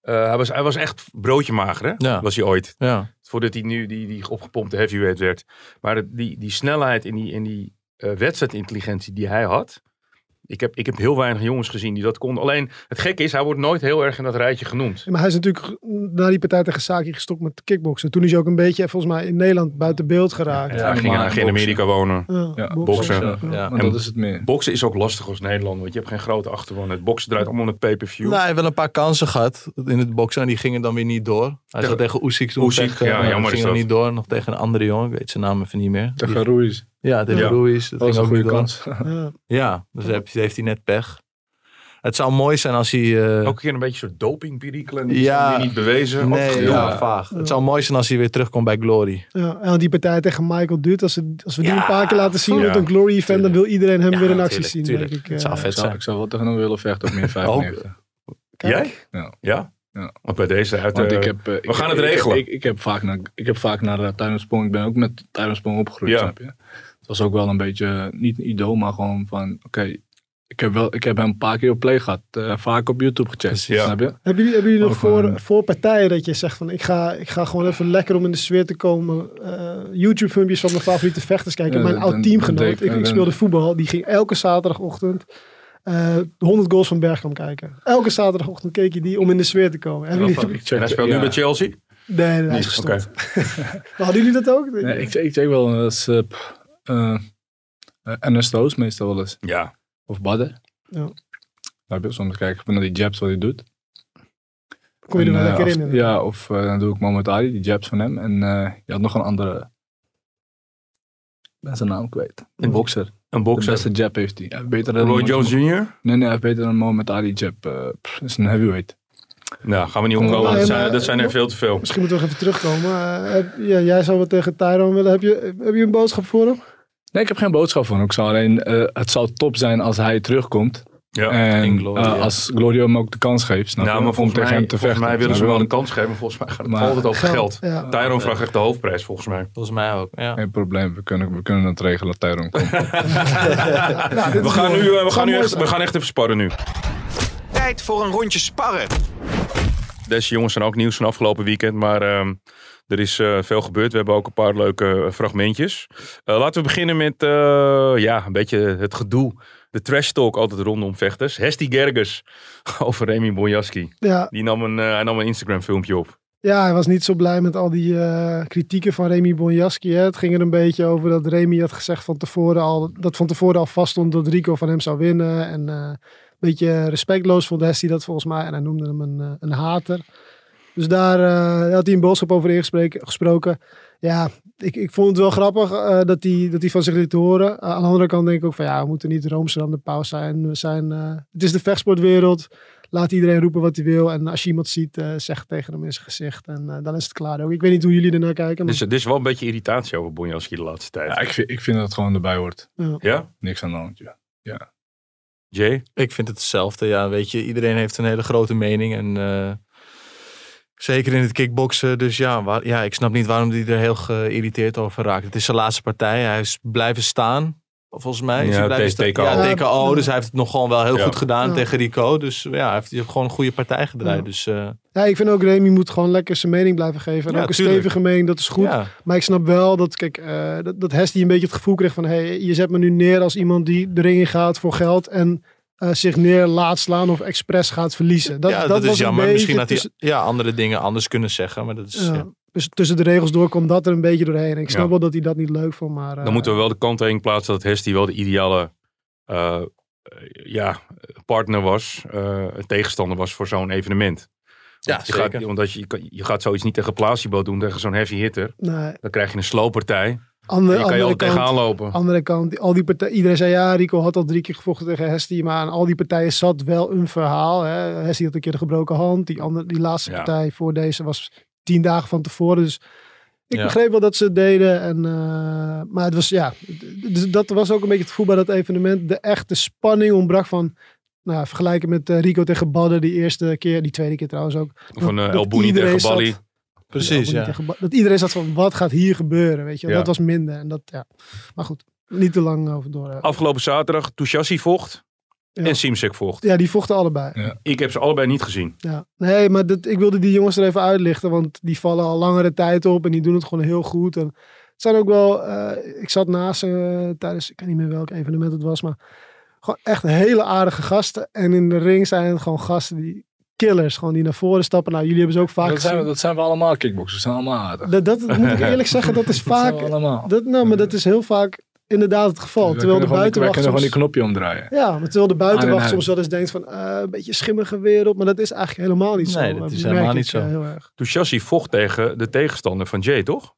eh, hij, was, hij was echt broodje mager, hè? Ja. was hij ooit. Ja. Voordat hij nu die, die opgepompte heavyweight werd. Maar het- die, die snelheid en die, en die eh, wedstrijdintelligentie die hij had. Ik heb, ik heb heel weinig jongens gezien die dat konden. Alleen het gekke is, hij wordt nooit heel erg in dat rijtje genoemd. Maar hij is natuurlijk na die partij tegen Saki gestopt met kickboksen. Toen is hij ook een beetje, volgens mij, in Nederland buiten beeld geraakt. Ja, hij ging maar eigenlijk in boksen. Amerika wonen. Ja, Ja, boksen. boksen. Ja, Ja. Want dat is het meer. Boksen is ook lastig als Nederland, want je hebt geen grote achterban. Het boksen draait allemaal met pay-per-view. Nou, hij heeft wel een paar kansen gehad in het boksen. En die gingen dan weer niet door. Hij Tegen- zou tegen Oesik doen. Usyk, ja, jammer is ging dat. niet door. Nog tegen een andere jongen. Ik weet zijn naam even niet meer. Tegen Ruiz. Ja, tegen Ja. Ruiz. Dat Dat was ging een ook goede niet door. kans. Ja. Ja, dus heb- heeft hij net pech. Het zou mooi zijn als hij... eh, Elke keer een beetje zo'n dopingperikelen. Ja. Ja. Niet bewezen. nee, afgedoe. ja, vaag. Het zou mooi zijn als hij weer terugkomt bij Glory. Ja, en die partij tegen Michael Dutt, als, ze- als we die Ja, een paar keer laten zien ja, op een Glory event, dan wil iedereen hem Ja, weer in actie tuurlijk, zien. tuurlijk. Denk ik. Het eh. zou vet ik, zou, zijn. ik zou wel tegen hem willen vechten op min 95. Jij? Ja. Ja? Ja. Want bij deze uit... Want eh, ik heb, eh, ik- gaan het ik- ik- regelen. Ik, ik, heb vaak naar, ik heb vaak naar eh, Tuimersprong. Ik ben ook met Tuimersprong opgegroeid, Ja. snap je? Het was ook wel een beetje, eh, niet een idool, maar gewoon van... Oké, ik, heb wel- ik heb hem een paar keer op play gehad. eh, vaak op YouTube gecheckt, Precies. snap je? Hebben jullie, hebben jullie nog Ook eh, wel voor, een- voor partijen dat je zegt van ik ga, ik ga gewoon even lekker om in de sfeer te komen eh, YouTube filmpjes van mijn favoriete vechters kijken. Ja, mijn dan- oud dan teamgenoot, denk- ik, ik dan- speelde voetbal, die ging elke zaterdagochtend eh 100 goals van Bergkamp kijken. Elke zaterdagochtend keek je die om in de sfeer te komen. Hebben jullie, Ik check, En hij speelt ja. nu bij Chelsea? nee, nee, hij is Niet. Oké. gestopt. Maar Hadden jullie dat ook? Nee, ik, ik check wel eens eh, pff, eh, eh, NSO's meestal wel eens. Ja. Of Badden. Ja. Daar heb je soms kijken naar die jabs wat hij doet. Kon je er wel En, eh, lekker af- in? in? Ja, of eh, dan doe ik Mohamed Ali, die jabs van hem. En eh, je had nog een andere. Ik ben zijn naam kwijt. Een bokser. Een De bokser. beste jab heeft hij. Hij heeft beter dan Roy Jones Jr.? Nee, nee, hij heeft beter dan Mohamed Ali jab. eh, pff, dat is een heavyweight. Nou, gaan we niet opkomen. Nee, Dat maar- zijn, dat zijn er veel te veel. Misschien moeten we nog even terugkomen. Eh, heb- ja, jij zou wat tegen Tyrone willen. Heb je, heb je een boodschap voor hem? Nee, ik heb geen boodschap van. hem. Ik zou alleen, eh, het zou top zijn als hij terugkomt. Ja. en in Glory, eh, ja. als Glorio hem ook de kans geeft. Snap je? Nou, maar Om volgens tegen mij, hem te volgens mij vechten. willen ze snap hem je? wel een kans geven. maar Volgens mij gaat het Maar- altijd over geld. Ja. Tyrone vraagt echt de hoofdprijs, volgens mij. Volgens mij ook, ja. Geen probleem, we kunnen, we kunnen het regelen dat Tyrone komt. We gaan nu, eh, we gaan nu mooi echt, we gaan echt even sparren nu. Tijd voor een rondje sparren. Deze jongens zijn ook nieuws van afgelopen weekend, maar ehm, er is eh, veel gebeurd. We hebben ook een paar leuke eh, fragmentjes. Eh, laten we beginnen met eh, ja, een beetje het gedoe. De trash talk altijd rondom vechters. Hesti Gerges over Remy Bonjasky. Ja, Die nam een, eh, hij nam een Instagram filmpje op. Ja, hij was niet zo blij met al die eh, kritieken van Remy Bonjasky. Hè. Het ging er een beetje over dat Remy had gezegd van tevoren al, dat van tevoren al vast stond dat Rico van hem zou winnen. En eh, een beetje respectloos vond Hestie dat volgens mij. En hij noemde hem een, eh, een hater. Dus daar eh, had hij een boodschap over ingesprek- gesproken. Ja, ik, ik vond het wel grappig eh, dat, hij, dat hij van zich liet horen. Eh, aan de andere kant denk ik ook van ja, we moeten niet roomser aan de pauw zijn. We zijn eh, het is de vechtsportwereld. Laat iedereen roepen wat hij wil. En als je iemand ziet, eh, zeg het tegen hem in zijn gezicht. En eh, dan is het klaar ook. Ik weet niet hoe jullie ernaar kijken. Maar, Dus dit is wel een beetje irritatie over Bonjasky de laatste tijd. Ja, Ja? ik, vind, ik vind dat het gewoon erbij hoort. ja? Niks aan de hand. Ja. Eh. Jay? Ik vind het hetzelfde, ja. Weet je, iedereen heeft een hele grote mening en... eh, Zeker in het kickboksen. Dus ja, waar- ja, ik snap niet waarom hij er heel geïrriteerd over raakt. Het is zijn laatste partij. Hij is blijven staan. Volgens mij. Is Ja, hij blijven T- staan. TKO. Ja, TKO. Dus hij heeft het nog gewoon wel heel Ja. goed gedaan Ja. tegen Rico. Dus ja, hij heeft hij heeft gewoon een goede partij gedraaid. Ja. Dus eh, ja, ik vind ook Remy moet gewoon lekker zijn mening blijven geven. En Ja, ook een tuurlijk. stevige mening, dat is goed. ja. Maar ik snap wel dat, kijk, eh, dat, dat Hestie een beetje het gevoel kreeg van... Hey, je zet me nu neer als iemand die de ring in gaat voor geld... en eh, zich neer laat slaan of expres gaat verliezen. Dat, ja, dat, dat was is een jammer. beetje Misschien had hij tussen- ja, andere dingen anders kunnen zeggen. Maar dat is, ja. ja, dus tussen de regels door kwam dat er een beetje doorheen. Ik snap Ja. wel dat hij dat niet leuk vond, maar... eh, Dan moeten we wel de kanttekening plaatsen dat Hestie wel de ideale eh, eh, ja, partner was, eh, tegenstander was voor zo'n evenement. Ja, Want je zeker. gaat, omdat je, je kan- je gaat zoiets niet tegen placebo doen, tegen zo'n heavy hitter. Nee, Dan krijg je een slowpartij. En ander, je kan je andere altijd tegenaan kant... lopen. Andere kant, die- al die partij, iedereen zei ja, Rico had al drie keer gevochten tegen Hestie, maar aan al die partijen zat wel een verhaal. Hè. Hestie had een keer een gebroken hand, die, andere, die laatste Ja. partij voor deze was tien dagen van tevoren, dus ik Ja. begreep wel dat ze het deden. En, eh, maar het was, ja, dus dat was ook een beetje het gevoel bij dat evenement. De echte spanning ontbrak van, nou, ja, vergelijken met eh, Rico tegen Badden die eerste keer, die tweede keer trouwens ook. Of een eh, dat El Bouni iedereen tegen zat- Bali. precies. Ook niet Ja. tegen Ba- dat iedereen zat van, wat gaat hier gebeuren, weet je. wel. Ja. Dat was minder. En dat, ja. Maar goed, niet te lang over door. eh. Afgelopen zaterdag Touchassi vocht Ja. en Simsek vocht. Ja, die vochten allebei. Ja. Ja. Ik heb ze allebei niet gezien. Nee, maar dat, ik wilde die jongens er even uitlichten. Want die vallen al langere tijd op. En die doen het gewoon heel goed. En het zijn ook wel... eh, ik zat naast ze eh, tijdens... Ik weet niet meer welk evenement het was. Maar gewoon echt hele aardige gasten. En in de ring zijn het gewoon gasten die... Killers, gewoon die naar voren stappen. Nou, jullie hebben ze ook vaak Dat zijn, we, gezien. dat zijn we allemaal kickboxers. We zijn allemaal aardig. Dat, dat, moet ik eerlijk zeggen, dat is Dat zijn vaak... we allemaal. Dat, nou, maar dat is heel vaak inderdaad het geval. Wij terwijl de Dus kunnen gewoon die- wij buitenwacht kunnen gewoon die soms- knopje omdraaien. Ja, maar terwijl de Aan en buitenwacht uit. soms wel eens denkt van eh, een beetje schimmige wereld, maar dat is eigenlijk helemaal niet zo. Nee, dat is merk helemaal ik, niet zo. eh, heel erg. Touchassi vocht tegen de tegenstander van Jay, toch?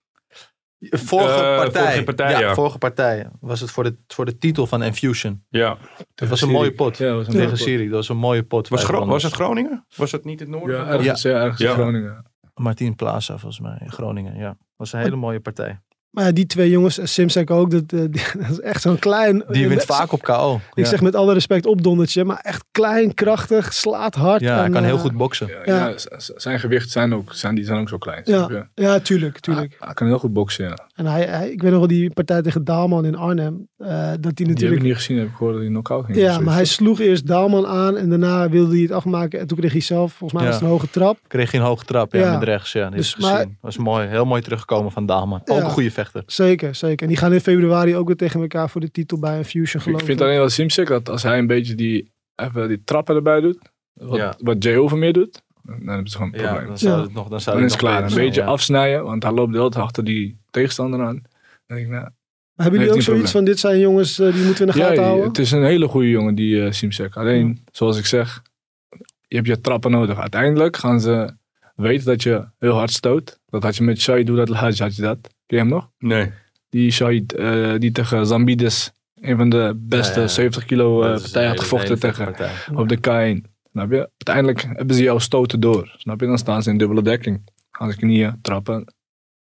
Vorige Eh, partij. vorige partij, ja. Vorige partij was het voor de, voor de titel van Infusion. Ja. Dat was een mooie pot. Ja, was een mooie tegen pot. Syrië. Dat was een mooie pot. Was, vijf Gro- was rondes. het Groningen? Was het niet het noorden? Ja, ergens, ja. ergens Ja. in Groningen. Martin Plaza volgens mij in Groningen. Ja, was een hele mooie partij. Maar ja, die twee jongens, eh, Simsek ook, dat, eh, die- dat is echt zo'n klein... Die wint eh, vaak op KO. Ik ja. zeg met alle respect opdondertje, maar echt klein, krachtig, slaat hard. ja, hij en, kan heel eh, goed boksen. Ja, Ja. ja, z- z- zijn gewicht zijn ook, zijn, die zijn ook zo klein. snap je? Ja, ja, tuurlijk, tuurlijk. Hij, hij kan heel goed boksen, ja. En hij, hij- ik weet nog wel die partij tegen Daalman in Arnhem, eh, dat hij Die heb ik natuurlijk... niet dus gezien, heb ik gehoord dat hij knock-out ging. Ja, Zoiets. maar hij sloeg eerst Daalman aan en daarna wilde hij het afmaken. En toen kreeg hij zelf, volgens mij Ja. was het een hoge trap. Kreeg geen hoge trap ja, Ja. met rechts. Ja, die Dus, heb ik gezien. Was mooi. Heel mooi terugkomen van Daalman. Ook Ja. een goede vechter. Zeker, zeker. En die gaan in februari ook weer tegen elkaar voor de titel bij een Fusion geloof Ik vind alleen dat Simsek, dat als hij een beetje die, even die trappen erbij doet, wat, Ja. wat Jay over meer doet, dan hebben ze gewoon een Ja, probleem. dan Dan, zou Ja. het nog... Dan zou het is het nog klaar. beter Een zijn, beetje ja. afsnijden, want hij loopt de hele tijd achter die tegenstander aan. Dan denk ik, nou, Hebben jullie ook heeft hij een zoiets van, dit zijn jongens, eh, die moeten we in de ja, gaten die- houden? het is een hele goede jongen, die eh Simsek. Alleen, zoals ik zeg, je hebt je trappen nodig. Uiteindelijk gaan ze weten dat je heel hard stoot. Dat had je met Shai doet, dat had je had je dat. Ken je hem nog? Nee. Die Shahid, eh, die tegen Zambides, een van de beste Ja, ja. 70 kilo eh Dat is een partijen had hele- gevochten hele tegen vette partij. op de K1. Snap je? Uiteindelijk hebben ze jouw stoten door. Snap je? Dan staan ze in dubbele dekking. Gaan ze knieën, trappen.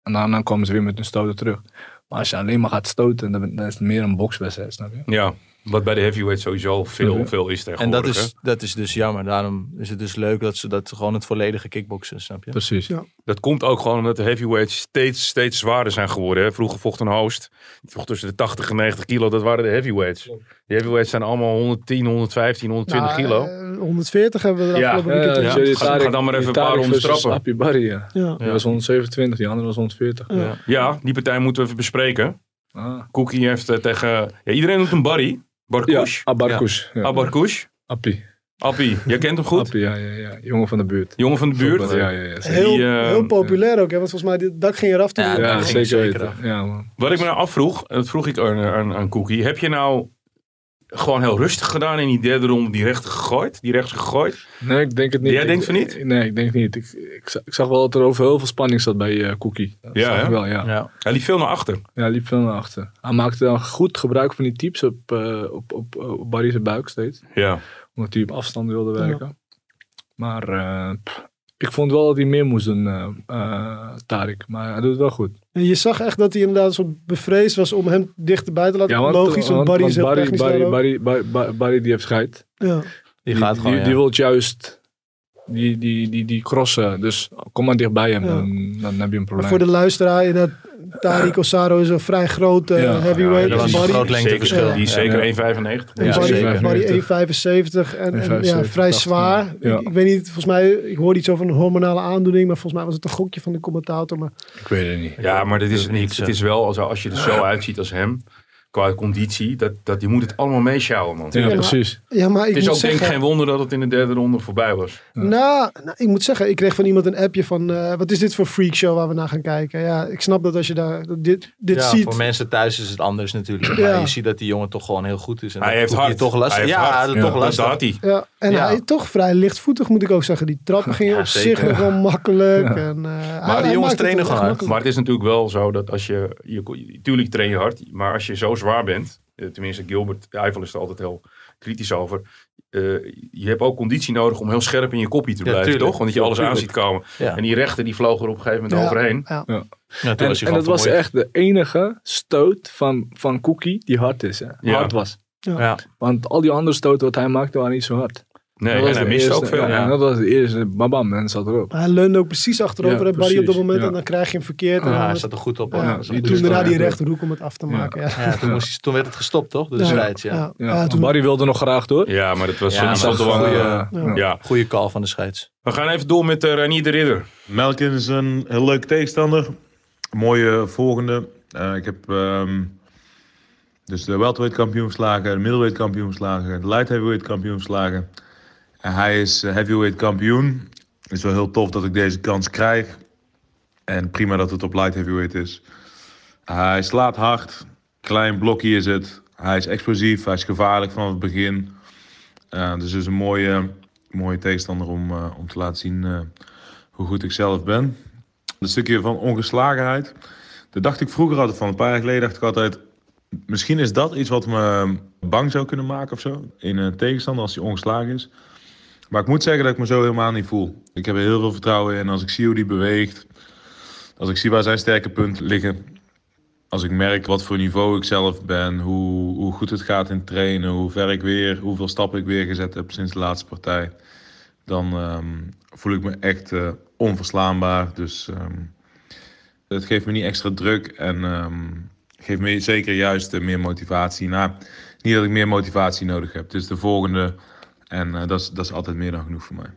En daarna komen ze weer met hun stoten terug. Maar als je alleen maar gaat stoten, dan, dan is het meer een bokswedstrijd. Snap je? Ja. Wat bij de heavyweight sowieso veel, Ja. veel is tegenwoordig. En dat hè? is, dat is dus jammer. Daarom is het dus leuk dat ze dat gewoon het volledige kickboksen, snap je? Precies. Ja. Dat komt ook gewoon omdat de heavyweights steeds, steeds zwaarder zijn geworden. Hè. Vroeger vocht een host. Die vocht tussen de 80 en 90 kilo. Dat waren de heavyweights. De heavyweights zijn allemaal 110, 115, 120 Nou, kilo. eh, 140 hebben we er Ja, afgelopen Ja, eh, weekend. ja, in. ja. die Ga- ga dan maar even die een paar Tariq rondes versus trappen. Appie Barry, ja. Ja. Die was 127, die andere was 140. Ja. Ja, die partij moeten we even bespreken. Ah. Cookie heeft eh, tegen... Ja, iedereen noemt hem Barry. Ja, Barkoush. Abarkus. Ja. Abarkoush. Appie. Appie, jij kent hem goed. Appie, ja, ja, ja. Jongen van de buurt. Jongen van de buurt. Ja, ja, ja. zeker. Heel, Die, eh, heel populair ook, hè? want volgens mij dit dak ging eraf toen. Ja, Ja, Ja, dat zeker ging zeker weten. af. Ja, man. Wat ik me nou afvroeg, en dat vroeg ik aan, aan, aan Cookie. Heb je nou gewoon heel rustig gedaan in die derde ronde die rechter gegooid? Die rechts gegooid? Nee, ik denk het niet. Jij Ik- denkt van niet? ik- Nee, ik denk niet. Ik, ik, za- ik zag wel dat er over heel veel spanning zat bij eh, Cookie. Dat Ja, zag hè? ik wel, ja. ja. Ja. Hij liep veel naar achter. hij liep veel naar achter. Hij maakte dan goed gebruik van die types op, eh, op, op, op Barry's buik steeds. Ja. Omdat hij op afstand wilde werken. Maar eh, pff, ik vond wel dat hij meer moest doen, eh eh, Tarik. Maar hij doet het wel goed. En je zag echt dat hij inderdaad een soort bevreesd was om hem dichterbij te laten. want- Logisch, want Barry is heel Barry, technisch Barry, daar ook. Barry, Barry, Barry- Barry die heeft scheid. Ja. Die gaat die, gewoon, die, ja. die wil juist die, die, die, die crossen. Dus kom maar dichtbij hem, Ja. dan, dan heb je een Maar probleem. voor de luisteraar, inderdaad, Tariq Osaro is een vrij grote Ja, ja, heavyweight. dat was een Barry- groot lengteverschil. Die is Ja. zeker Ja. 1,95. En Ja, Barry, zeker. E Barry E 1,75 en, en ja, 1,75, vrij 80, zwaar. ja. Ik, ik weet niet, volgens mij, ik hoorde iets over een hormonale aandoening, maar volgens mij was het een gokje van de commentator. Maar Ik weet het niet. Ja, maar dit is Dat het niet, niet. zo. Het is wel, als, als je er zo uitziet als hem, qua conditie, dat, dat je moet het allemaal meesjouwen, man. Ja, precies. ja, maar ik Het is moet ook denk ik zeggen, geen wonder dat het in de derde ronde voorbij was. Nou, nou, ik moet zeggen, ik kreeg van iemand een appje van, eh, wat is dit voor freakshow waar we naar gaan kijken? Ja, ik snap dat als je daar dat dit, dit ja, ziet. voor mensen thuis is het anders natuurlijk. Ja. Maar je ziet dat die jongen toch gewoon heel goed is. En Hij dat heeft doet hard. Toch lastig. Hij heeft ja, hard. dat Ja. toch Dat lastig. had hij. Ja, en Ja. hij toch vrij lichtvoetig, moet ik ook zeggen. Die trappen gingen Ja, op zeker. zich nog wel makkelijk. En, eh, hij- hij jongens maakt het trainen echt gewoon hard. makkelijk. Maar het is natuurlijk wel zo dat als je, je tuurlijk train je hard, maar als je zo zwaar bent, eh, tenminste Gilbert Eiffel is er altijd heel kritisch over, eh, je hebt ook conditie nodig om heel scherp in je kopje te blijven, tuurlijk. toch? Want dat je alles aan ziet komen. Ja. En die rechter die vloog er op een gegeven moment Ja. overheen. Ja, toen En, was hij en dat gewoon was vermoeid. echt de enige stoot van, van Cookie die hard is. Hè. Ja. Hard was. Ja. Want al die andere stoten wat hij maakte waren niet zo hard. Nee, Dat was en hij de miste eerste- ook veel. Ja, Ja. dat was de eerste. Bam, bam, en zat erop. Maar Hij leunde ook precies achterover Ja, hè, Barry op dat precies, moment. ja. En dan krijg je hem verkeerd. en Ja, dan hij is- staat er goed op. ja, hoor. ja, Hij staat die goed toen doet op. daarna die Ja. rechterhoek om het af te maken. Ja, Ja, toen, moest hij- toen werd het gestopt, toch? De scheids, ja. ja. Ja. Ja, want toen- Barry wilde nog graag door. Ja, maar dat was Ja, dat maar was dat wel was eh, te lang. gewoon, Ja. ja. Ja. Goeie call van de scheids. We gaan even door met eh Ranier de Ridder. Melkin is een heel leuke tegenstander. Mooie volgende. Eh, ik heb ehm, dus de welterweight kampioen verslagen, de middleweight kampioen verslagen, de light heavyweight kampioen verslagen. En hij is eh, heavyweight kampioen. Het is wel heel tof dat ik deze kans krijg. En prima dat het op light heavyweight is. Hij slaat hard. Klein blokje is het. Hij is explosief. Hij is gevaarlijk vanaf het begin. Eh, dus het is een mooie, mooie tegenstander om, eh, om te laten zien eh, hoe goed ik zelf ben. Een stukje van ongeslagenheid. Dat dacht ik vroeger altijd van. Een paar jaar geleden dacht ik altijd... Misschien is dat iets wat me bang zou kunnen maken of zo. In een tegenstander als hij ongeslagen is. Maar ik moet zeggen dat ik me zo helemaal niet voel. Ik heb er heel veel vertrouwen in. Als ik zie hoe die beweegt. Als ik zie waar zijn sterke punten liggen. Als ik merk wat voor niveau ik zelf ben. Hoe, hoe goed het gaat in trainen. Hoe ver ik weer... Hoeveel stappen ik weer gezet heb sinds de laatste partij. Dan ehm, voel ik me echt eh, onverslaanbaar. Dus... ehm, het geeft me niet extra druk en ehm, geeft me zeker juist eh, meer motivatie. Nou, niet dat ik meer motivatie nodig heb. Het is de volgende en eh, dat, is, dat is altijd meer dan genoeg voor mij.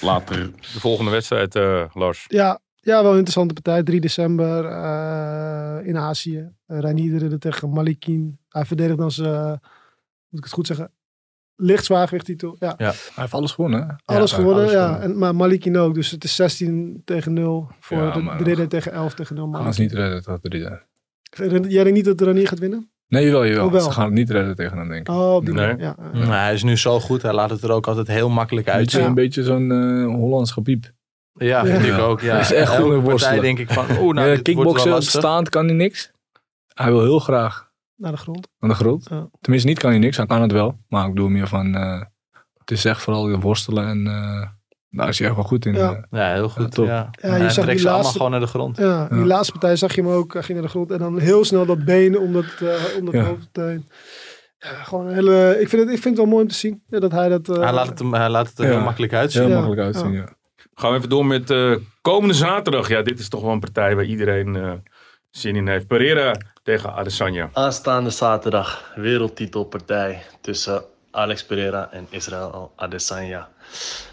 Later. De volgende wedstrijd, eh, Lars. Ja, ja, wel een interessante partij. 3 december eh, in Azië. Uh, Reiniederen tegen Malikin. Hij verdedigt dan zijn, eh, moet ik het goed zeggen, licht zwaargewichttitel. Ja, Hij heeft alles gewonnen. hè? alles Ja, gewonnen. alles ja. En, maar Malikin ook. Dus het is 16 tegen 0 voor Ja, de maar- Ridder tegen 11 tegen 0. Gaan Maar ze niet redden tot drie daar. Jij denkt niet dat Ranier gaat winnen? eh. Nee, jawel, jawel. Oh, wel. Ze gaan het niet redden tegen hem, denk ik. Oh, op die Nee. manier, ja. eh. Maar Nou, hij is nu zo goed. Hij laat het er ook altijd heel makkelijk Beetje- uitzien. Een beetje zo'n eh, Hollands Nou, gepiep. Ja, Ja. vind ik ook. Ja. Hij is echt goed Elke in partij worstelen. denk ik van, Ja, oeh, nou, dit wordt wel Eh, kickboksen, lastig. staand kan hij niks. Hij wil heel graag Naar de grond. aan de grond. Ja. Tenminste, niet kan hij niks. Hij kan het wel. Maar ik doe meer van... eh, het is echt vooral worstelen en... eh daar is hij echt wel goed in. Ja. eh. Ja, heel Ja, goed. top. Ja, Ja, je hij zag trekt ze die allemaal laatste- gewoon naar de grond. Ja, in die Ja. laatste partij zag je hem ook. Hij ging naar de grond en dan heel snel dat benen om dat, eh, om dat Ja. hoofd heen. Ja, gewoon een hele, ik, vind het, ik vind het wel mooi om te zien ja, dat hij dat... eh, Hij laat het, hem, hij laat het er Ja. heel makkelijk uitzien. Heel Ja. makkelijk uitzien, ja. Gaan we even door met eh, komende zaterdag. Ja, dit is toch wel een partij waar iedereen eh, zin in heeft. Pereira tegen Adesanya. Aanstaande zaterdag wereldtitelpartij tussen Alex Pereira en Israël Adesanya.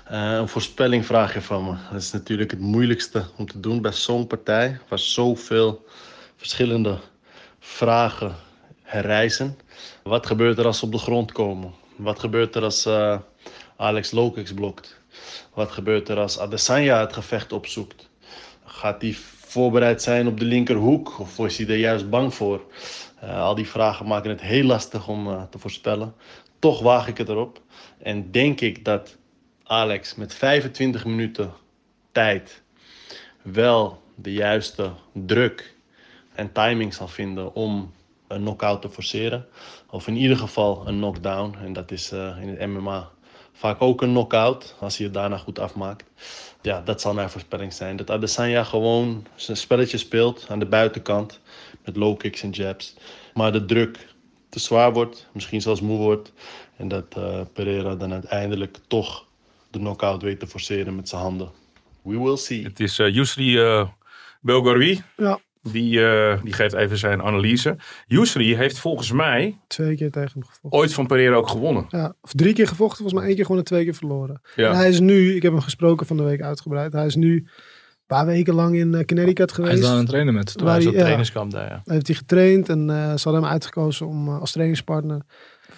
Eh, een voorspelling vraag je van me. Dat is natuurlijk het moeilijkste om te doen bij zo'n partij, waar zoveel verschillende vragen herrijzen. Wat gebeurt er als ze op de grond komen? Wat gebeurt er als eh, Alex Lokix blokt? Wat gebeurt er als Adesanya het gevecht opzoekt? Gaat hij voorbereid zijn op de linkerhoek of is hij er juist bang voor? Eh, al die vragen maken het heel lastig om eh, te voorspellen. Toch waag ik het erop. En denk ik dat Alex met 25 minuten tijd wel de juiste druk en timing zal vinden om een knockout te forceren. Of in ieder geval een knockdown. En dat is eh, in het MMA vaak ook een knockout als hij het daarna goed afmaakt. Ja, dat zal mijn voorspelling zijn. Dat Adesanya gewoon zijn spelletje speelt aan de buitenkant met low kicks en jabs. Maar de druk te zwaar wordt, misschien zelfs moe wordt. En dat eh, Pereira dan uiteindelijk toch de knockout weet te forceren met zijn handen. We will see. Het is eh Yusri eh, Belgaroui. Ja. Die, eh, die geeft even zijn analyse. Yusri heeft volgens mij Twee keer tegen hem gevochten. ooit van Pereira ook gewonnen. Ja, of drie keer gevochten, volgens mij één keer gewonnen, twee keer verloren. En Ja. hij is nu, ik heb hem gesproken van de week uitgebreid, hij is nu een paar weken lang in eh, Connecticut Hij is geweest. daar aan het trainen met. Waar Hij is hij- op ja, trainingskamp daar, ja. daar heeft hij getraind en eh, ze hadden hem uitgekozen om eh, als trainingspartner.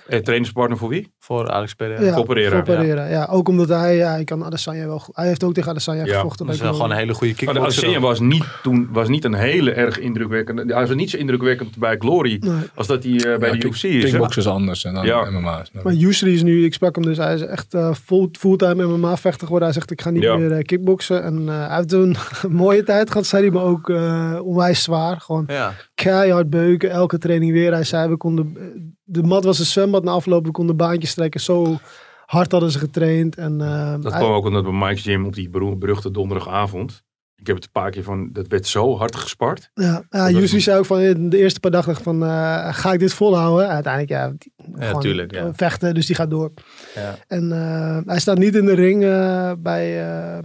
Eh, trainingspartner voor wie? Voor Alex Pereira. Ja, voor Pereira, voor Pereira, ja. Ook omdat hij, ja, hij kan Adesanya wel goed. Hij heeft ook tegen Adesanya Ja. gevochten. Dat lijkt is wel me. gewoon een hele Oh, goede Maar Oh, de Adesanya kickboxer. ook. was niet, toen, was niet een hele erg indrukwekkende. Hij was niet zo indrukwekkend bij Glory Nee. als dat hij eh, bij Ja, de kick- UFC is. hè? Kickboxen is anders en dan Ja. MMA's. Maar Yusri is nu, ik sprak hem dus, hij is echt eh, full, fulltime MMA-vechter geworden. Hij zegt, ik ga niet Ja. meer eh, kickboksen. En eh, hij heeft een mooie tijd gehad, zei hij, maar ook eh, onwijs zwaar. Gewoon Ja, keihard beuken, elke training weer. Hij zei, we konden, eh, de mat was een zwembad na afloop, we konden baantjes trekken. Zo hard hadden ze getraind. En, eh, Dat hij- kwam ook omdat bij Mike's Gym op die beroemde, beruchte donderdagavond. Ik heb het een paar keer van, dat werd zo hard gespart. ja, ja, was- Yusri zei ook van eh, de eerste paar dagen dacht van, eh, ga ik dit volhouden? Uiteindelijk, ja, die- ja gewoon, tuurlijk. eh, Ja. vechten, dus die gaat door. Ja. En eh, hij staat niet in de ring eh, bij eh,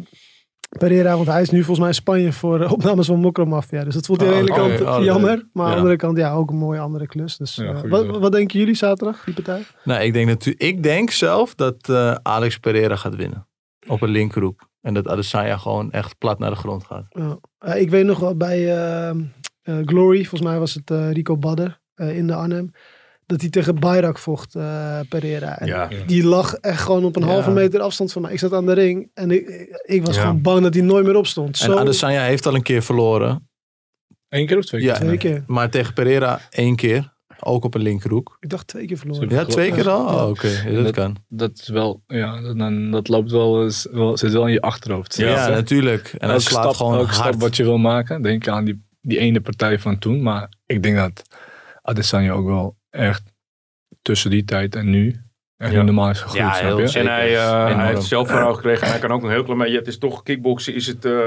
Pereira, want hij is nu volgens mij in Spanje voor eh, opnames van Mokromafia. Dus dat voelt aan de Oh, ene oké. kant Oh, dat- jammer, maar aan ja. de andere kant ja, ook een mooie andere klus. Dus Ja, eh, goeie wat, dag. wat denken jullie zaterdag, die partij? Nou, ik denk, natu- ik denk zelf dat eh, Alex Pereira gaat winnen. Op een linkerhoek. En dat Adesanya gewoon echt plat naar de grond gaat. Ja. Eh, ik weet nog wel bij eh, eh, Glory, volgens mij was het eh, Rico Badder eh, in de Arnhem, dat hij tegen Bayrak vocht, eh, Pereira. En Ja. Die lag echt gewoon op een Ja. halve meter afstand van mij. Ik zat aan de ring en ik, ik was Ja. gewoon bang dat hij nooit meer opstond. En Zo, Adesanya heeft al een keer verloren. Eén keer of twee keer? Ja. twee keer. Maar tegen Pereira één keer. Ook op een linkerhoek. Ik dacht twee keer verloren. Ze Ja, twee keer al? Ja. Oh, oké. Ja, dat kan. Dat is wel, ja, dat, dan- dat loopt wel, eens- wel, zit wel in je achterhoofd. Ja, Elke natuurlijk. En hij slaat stap- gewoon elke hard. stap wat je wil maken, denk aan die die ene partij van toen. Maar ik denk dat Adesanya ook wel echt tussen die tijd en nu echt Ja. normaal is gegroeid. Ja, snap heel je? zeker. En hij, eh, Enorm. hij heeft zelfvertrouwen gekregen. En hij kan ook een heel klein beetje. Het is toch kickboksen, is het eh,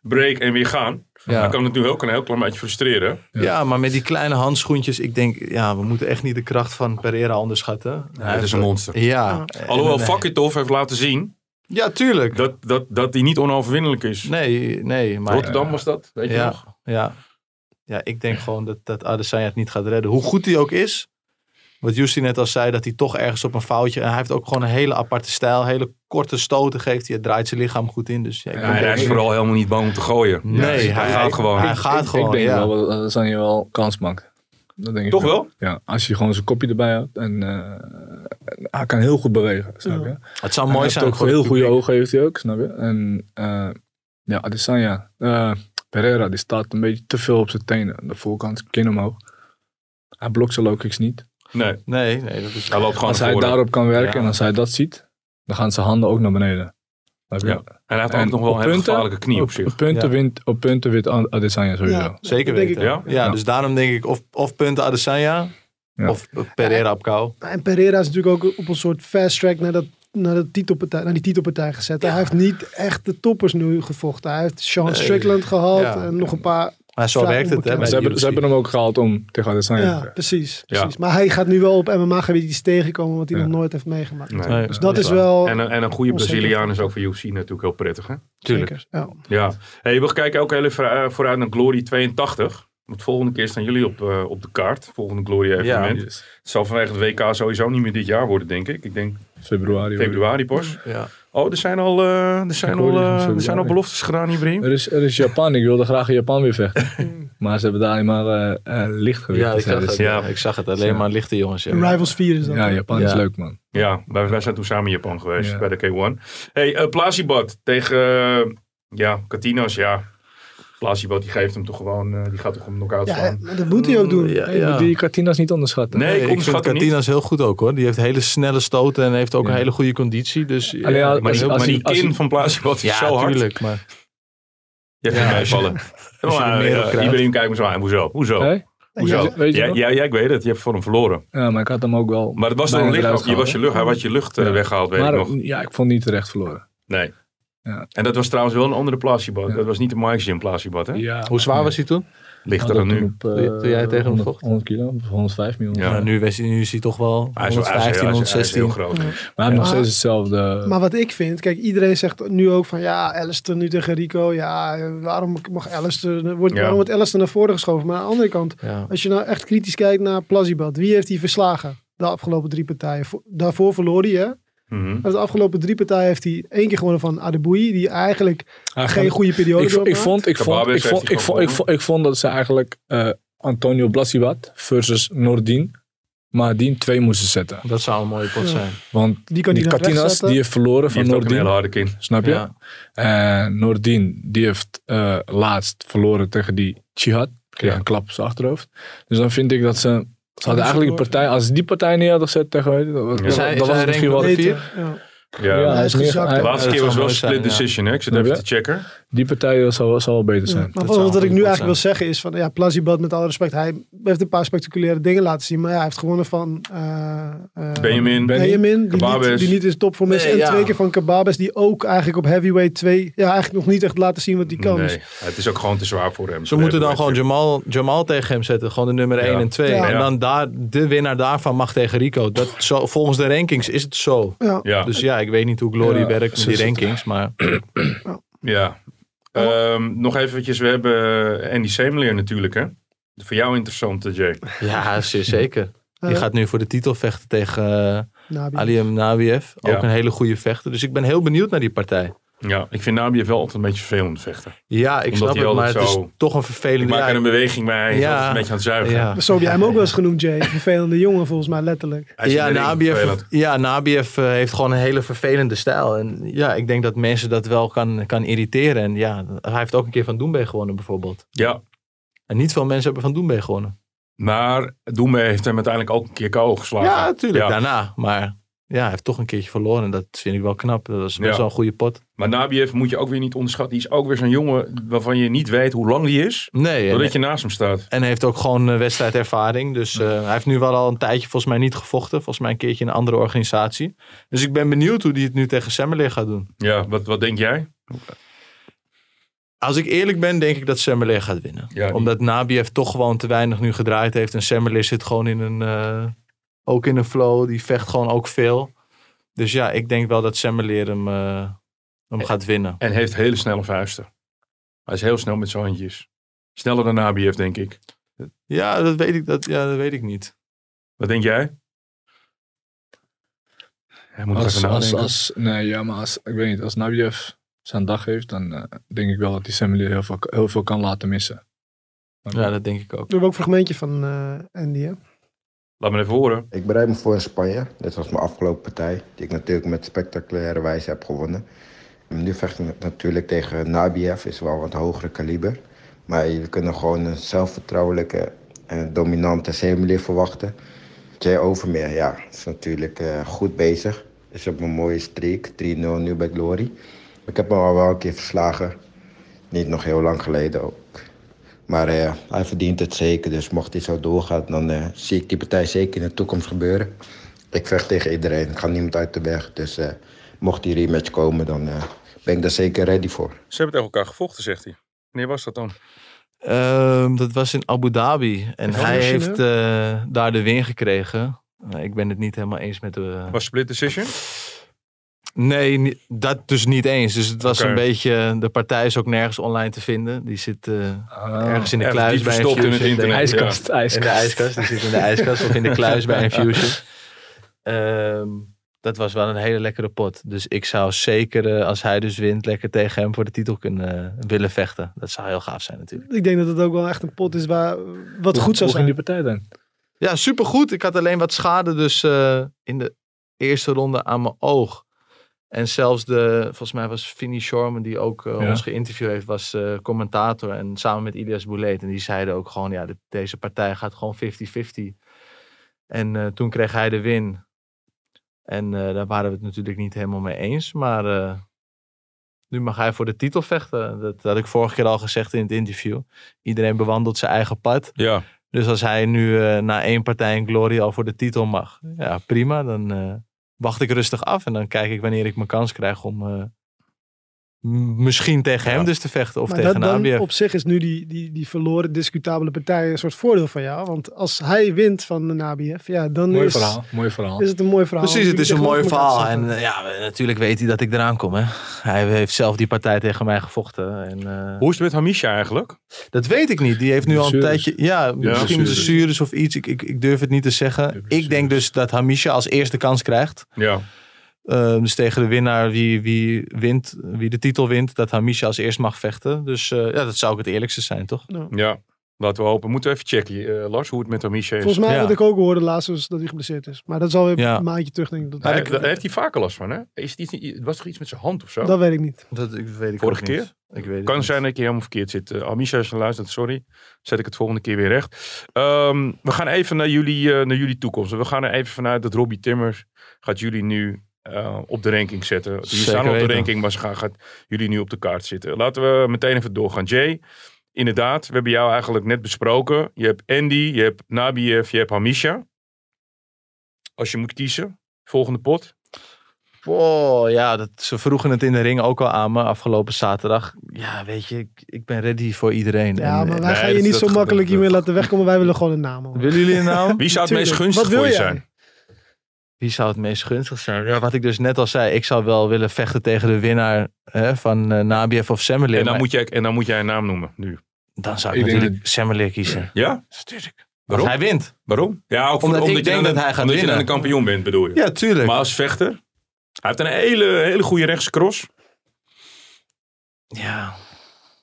break en weer gaan. Hij Ja. kan het nu ook een heel klein beetje frustreren. Ja. ja, maar met die kleine handschoentjes, ik denk, ja, we moeten echt niet de kracht van Pereira onderschatten. Hij het heeft is een er- monster. Ja. Alhoewel En- Fakitov heeft laten zien Ja, tuurlijk. dat, dat, dat hij niet onoverwinnelijk is. eh, Nee, nee. Maar, Rotterdam was dat, weet je Ja. nog? Ja. ja, ik denk gewoon dat, dat Adesanya het niet gaat redden. Hoe goed hij ook is. Wat Justin net al zei, dat hij toch ergens op een foutje... En hij heeft ook gewoon een hele aparte stijl. Hele korte stoten geeft hij. Het draait zijn lichaam goed in. Dus ja, ik Ja, denk en hij dat- is vooral helemaal niet bang om te gooien. Nee, hij, hij- gaat gewoon. hij gaat gewoon, Ik denk ja. wel dat Adesanya wel kans maakt. Dat denk ik Toch wel? Ja, als je gewoon zijn kopje erbij houdt. En eh, hij kan heel goed bewegen, snap je? Het zou En mooi hij zijn heeft ook voor heel het goede publiek. ogen heeft hij ook, snap je? En eh, ja, Adesanya, eh, Pereira, die staat een beetje te veel op zijn tenen. Aan De voorkant, kin omhoog. Hij blokt zijn low kicks niet. Nee, Nee, nee, dat is... hij loopt gewoon als naar hij voren. daarop kan werken Ja. en als hij dat ziet, dan gaan zijn handen ook naar beneden. Snap je? Ja, En hij heeft altijd En nog wel op een hele punten- Oh, gevaarlijke knie op zich. Op punten, Ja. wint, op punten wint Ad- Adesanya sowieso. Ja. Zeker Denk weten. ik Ja? Ja, dus daarom denk ik of, of punten Adesanya... Ja. Of Pereira op kou. En Pereira is natuurlijk ook op een soort fast track naar, dat, naar, dat titelpartij, naar die titelpartij gezet. Hij heeft niet echt de toppers nu gevochten. Hij heeft Sean Nee. Strickland gehaald Ja. en nog een paar. Maar zo Vrij werkt het, hè? onbekend. bij Maar ze, de hebben, UFC. ze hebben hem ook gehaald om tegen Adesanya te Ja, vechten. precies. Ja. precies. Maar hij gaat nu wel op MMA-gebied iets tegenkomen wat hij Ja. nog nooit heeft meegemaakt. Nee. Nee, Dus dat is waar. wel. En, een- en een goede Onzeker. Braziliaan is ook voor UFC natuurlijk heel prettig, hè? zeker. Ja. Ja. Hey, we kijken ook heel even eh, vooruit naar Glory 82. Want volgende keer staan jullie op, eh, op de kaart. Volgende Glory evenement. Het zal vanwege het WK sowieso niet meer dit jaar worden, denk ik. Ik denk Februari. hoor. februari pas. Ja. Oh, er zijn al, eh, er zijn Ik al, hoorde eh, het in er zijn al februari. beloftes gedaan, Ibrahim. Er is, er is Japan. Ik wilde graag in Japan weer vechten. maar ze hebben daar alleen maar eh, eh, lichtgewicht. Ja, ik Dus, eh, zag dus- het. Ja. Ik zag het. Alleen Ja. maar lichte jongens. ja. Rivals 4 is dat. ja, hè? Japan is Ja. leuk man. Ja, wij, wij zijn toen samen in Japan geweest Ja. bij de K1. Hey, eh Plasibat tegen eh, ja, Katinas, ja. Plasibat die geeft hem toch gewoon, eh, die gaat toch om knock-out Ja, slaan. hè, dat moet hij ook doen. Ja, Je ja. moet die Katinas niet onderschatten. Nee, ik ik vind onderschat hem niet. Katinas heel goed ook hoor. Die heeft hele snelle stoten en heeft ook Ja. een hele goede conditie. Dus ja, Alleen als- Maar die, als- maar als- die als- kin van Plasibat is ja, zo hard. tuurlijk. Maar Je vindt Ja, mij als je- vallen. als je er Maar, meer op eh, krijgt. Ibrahim kijkt me zo aan. Hoezo? Hoezo? Hè? Hoezo? Ja, weet je ja, nog? ja, ja, ik weet het. Je hebt voor hem verloren. Ja, maar ik had hem ook wel. Maar het was Bijna dan een eruit lucht. Je gehaald, was je lucht. Hij had je lucht eh, Ja. weggehaald, weet ik maar nog. ja, ik vond niet terecht verloren. Nee. Ja. En dat was trouwens wel een andere placebo. Ja. Dat was niet de Mike's Gym placebo, hè? Ja, hoe zwaar was hij toen? Lichter dan nu. Toen jij tegen hem vocht? 100 eh, kilo, of 105 miljoen. Ja. Nou, nu, is, nu is hij toch wel Hij is wel- hij is- hij is- 115, hij is heel 116. groot. Maar hij heeft nog Maar- steeds hetzelfde. Maar wat ik vind, kijk, iedereen zegt nu ook van ja, Alistair nu tegen Rico. Ja, eh, waarom mag Alistair, wordt, Ja. waarom wordt Alistair naar voren geschoven? Maar aan de andere kant, Ja. als je nou echt kritisch kijkt naar Plazibat, wie heeft hij verslagen de afgelopen drie partijen? Vo- daarvoor verloor hij, hè? Mhm. Maar de afgelopen drie partijen heeft hij één keer gewonnen van Adeboui, die eigenlijk Hij geen gaat- goede periode ik, vond- ik doormaakt. vond, ik vond, ik Kababes vond, ik heeft vond, hij ik vond, ik vond dat ze eigenlijk eh, Antonio Blasibat versus Nordin, Maadin twee moesten zetten. Dat zou een mooie pot Ja. zijn. Want die kan hij die dan Katinas rechtzetten. die heeft verloren Die van heeft ook een hele Nordin, harde kin. snap je? Ja. En Nordin die heeft eh, laatst verloren tegen die Chihad. Kreeg Ja. een klap op zijn achterhoofd. Dus dan vind ik dat ze... Ze hadden eigenlijk een verloren. partij... Als ze die partij niet hadden gezet tegen... weet je, Dat, Is hij- dat is was hij het misschien wel... rank- Beter, vier. ja. Ja. hij is Hij is meer- gezakt, hij- De laatste Ja, keer dat was wel zou mooi split zijn, ja. decision, hè? Ik zit Snap even je? te checken. Die partij zou, zou wel beter zijn. Maar Dat zou wat, ik een nu goede pot eigenlijk zijn. wil zeggen is van ja, Plazibat met alle respect, hij heeft een paar spectaculaire dingen laten zien, maar ja, hij heeft gewonnen van eh, eh, Benjamin. Benjamin, die niet, Kababes. die niet in topvorm is. Nee, en ja. twee keer van Kababes, die ook eigenlijk op heavyweight 2 ja, eigenlijk nog niet echt laten zien wat hij kan. Nee, Dus het is ook gewoon te zwaar voor hem. Ze moeten dan gewoon Jamal, Jamal tegen hem zetten. Gewoon de nummer 1 Ja. en 2. Ja. En dan daar, de winnaar daarvan mag tegen Rico. Dat, zo, volgens de rankings is het zo. ja. Ja, Dus ja, ik weet niet hoe Glory Ja, werkt met zo die is het. rankings. Maar ja. Ehm, nog eventjes, we hebben eh, Andy Semelier natuurlijk, hè? Voor jou interessant, eh, Jay. ja, zeer zeker. Die Eh, gaat nu voor de titel vechten tegen eh, Nabi. Ali Nabiev. Ook Ja. een hele goede vechter. Dus ik ben heel benieuwd naar die partij. Ja, ik vind Nabiev wel altijd een beetje vervelend vechten. Ja, ik Omdat snap hij het, maar altijd het is zo- toch een Ik vervelende... maak ja, er een beweging bij, hij is Ja. altijd een beetje aan het zuigen. ja. Zo heb jij hem ook wel eens genoemd, Jay. Vervelende jongen volgens mij, letterlijk. Hij is ja, in de ring Nabiev, vervelend. ja, Nabiev eh, heeft gewoon een hele vervelende stijl. En ja, ik denk dat mensen dat wel kan, kan irriteren. En ja, hij heeft ook een keer van Doembe gewonnen bijvoorbeeld. Ja, En niet veel mensen hebben van Doembe gewonnen. maar Doembe heeft hem uiteindelijk ook een keer KO geslagen. Ja, natuurlijk. Ja. Daarna. Maar ja, hij heeft toch een keertje verloren. Dat vind ik wel knap. Dat is wel Ja. zo'n goede pot. Maar Nabiev moet je ook weer niet onderschatten. Die is ook weer zo'n jongen waarvan je niet weet hoe lang die is. Nee, eh, en, Doordat je naast hem staat. en hij heeft ook gewoon eh, wedstrijdervaring. Dus eh, hij heeft nu wel al een tijdje volgens mij niet gevochten. Volgens mij een keertje in een andere organisatie. Dus ik ben benieuwd hoe hij het nu tegen Semmeler gaat doen. Ja, wat, wat denk jij? Als ik eerlijk ben, denk ik dat Semmeler gaat winnen. Ja, die- Omdat Nabiev toch gewoon te weinig nu gedraaid heeft. En Semmeler zit gewoon in een... eh, ook in een flow. Die vecht gewoon ook veel. Dus ja, ik denk wel dat Semmeler hem, eh, hem gaat winnen. En heeft hele snelle vuisten. Hij is heel snel met zijn handjes. Sneller dan Nabiev, denk ik. Ja, dat weet ik, dat, ja, dat weet ik niet. Wat denk jij? Hij moet Als, even als, nadenken. als, nee, ja, maar als, ik weet niet, als Nabiev zijn dag heeft, dan eh, denk ik wel dat die Semmelier heel veel, heel veel kan laten missen. Maar Ja, dat denk ik ook. We hebben ook een fragmentje van eh, Andy, hè? Laat me even horen. Ik bereid me voor in Spanje. Dit was mijn afgelopen partij, die ik natuurlijk met spectaculaire wijze heb gewonnen. En Nu vecht ik natuurlijk tegen Nabiev, is wel wat hogere kaliber. Maar jullie kunnen gewoon een zelfvertrouwelijke en dominante Semelier verwachten. Jay Overmeer, ja, is natuurlijk eh, goed bezig. Is op een mooie streak, 3-0 nu bij Glory. Ik heb hem al wel een keer verslagen. Niet nog heel lang geleden ook. Maar eh, hij verdient het zeker. Dus mocht hij zo doorgaan, dan eh, zie ik die partij zeker in de toekomst gebeuren. Ik vecht tegen iedereen. Ik ga niemand uit de weg. Dus eh, mocht die rematch komen, dan eh, ben ik daar zeker ready voor. Ze hebben tegen elkaar gevochten, zegt hij. Wanneer was dat dan? Ehm, dat was in Abu Dhabi. En Ja, hij misschien, heeft eh, daar de win gekregen. Nou, ik ben het niet helemaal eens met de... Was split decision? Nee, ni- dat dus niet eens. Dus het was Oké. een beetje... De partij is ook nergens online te vinden. Die zit eh, Ah. ergens in de Erg kluis diep bij een Ah, verstopt in het fusion, denk ik. internet. ijskast, In de ijskast. ijskast. Die zit in de ijskast of in de kluis bij een fusion. Ehm, dat was wel een hele lekkere pot. Dus ik zou zeker, eh, als hij dus wint, lekker tegen hem voor de titel kunnen willen vechten. Dat zou heel gaaf zijn natuurlijk. Ik denk dat het ook wel echt een pot is waar wat goed zou Hoe ging zijn. die partij dan? Ja, supergoed. Ik had alleen wat schade dus eh, in de eerste ronde aan mijn oog. En zelfs de, volgens mij was Vinnie Shorman, die ook eh, Ja. ons geïnterviewd heeft, was eh, commentator. En samen met Ilias Boulet. En die zeiden ook gewoon, ja, dit- deze partij gaat gewoon 50-50. En eh, toen kreeg hij de win. En eh, daar waren we het natuurlijk niet helemaal mee eens. Maar eh, nu mag hij voor de titel vechten. Dat had ik vorige keer al gezegd in het interview. Iedereen bewandelt zijn eigen pad. Ja. Dus als hij nu eh, na één partij in Glory al voor de titel mag, ja, prima. Dan eh, wacht ik rustig af en dan kijk ik wanneer ik mijn kans krijg om eh, m- misschien tegen hem dus te vechten of maar tegen dat dan Nabiev. op zich is nu die, die, die verloren discutabele partij een soort voordeel van jou. Want als hij wint van de Nabiev, ja, dan Mooi is, verhaal, mooi verhaal. is het een mooi verhaal. Precies, het is een Jullie mooi tegenover elkaar verhaal. En zetten. eh, ja, natuurlijk weet hij dat ik eraan kom. Hè. Hij heeft zelf die partij tegen mij gevochten. En, eh, Hoe is het met Hamisha eigenlijk? Dat weet ik niet. Die heeft nu al een Blessures. tijdje. Ja, misschien blessures. blessures of iets. Ik, ik, ik durf het niet te zeggen. Ik denk dus dat Hamisha als eerste kans krijgt. Ja. Eh, dus tegen de winnaar wie, wie, wint, wie de titel wint, dat Hamisha als eerst mag vechten. Dus eh, ja, dat zou ook het eerlijkste zijn, toch? Ja. Laten we hopen. Moeten we even checken, eh, Lars, hoe het met Hamisha is. Volgens mij, Ja. wat ik ook hoorde laatst, was dat hij geblesseerd is. Maar dat is alweer Ja. een maandje terug, denk ik. Dat, Hij- daar heeft hij vaker last van, hè? Is het, iets, het was toch iets met zijn hand of zo? dat weet ik niet. Dat ik, weet ik Vorige ook keer? niet. Ik weet het kan niet. zijn dat ik je helemaal verkeerd zit. Eh, Amisha, als je luistert, sorry. Zet ik het volgende keer weer recht. Ehm, we gaan even naar jullie, eh, naar jullie toekomst. We gaan er even vanuit dat Robbie Timmers gaat jullie nu eh, op de ranking zetten. Jullie Zeker staan al op de weten. ranking, maar ze gaan, gaat jullie nu op de kaart zitten. Laten we meteen even doorgaan. Jay, inderdaad, we hebben jou eigenlijk net besproken. Je hebt Andy, je hebt Nabiev, je hebt Hamisha. Als je moet kiezen, volgende pot. Wow, ja, dat, ze vroegen het in de ring ook al aan me afgelopen zaterdag. Ja, weet je, ik, ik ben ready voor iedereen. Ja, En, maar eh, wij nee, gaan je dat- niet dat- zo dat- makkelijk dat- hiermee laten wegkomen. Wij willen gewoon een naam horen. Willen jullie een naam? Wie zou het meest Tuurlijk. gunstig Wat wil voor je jij? zijn? Wie zou het meest gunstig zijn? Ja, wat ik dus net al zei, ik zou wel willen vechten tegen de winnaar hè, van eh Nabiev of Semmelir. En dan, maar moet jij, en dan moet jij een naam noemen nu. dan zou ik, Ik denk natuurlijk Semmelir kiezen. Ja? Natuurlijk. Waarom? Hij wint. Waarom? Ja, ook voor- Omdat ik je denk dan- dat hij gaat omdat je dan winnen. een kampioen bent, bedoel je. Ja, tuurlijk. Maar als vechter, hij heeft een hele, hele goede rechtscross. ja.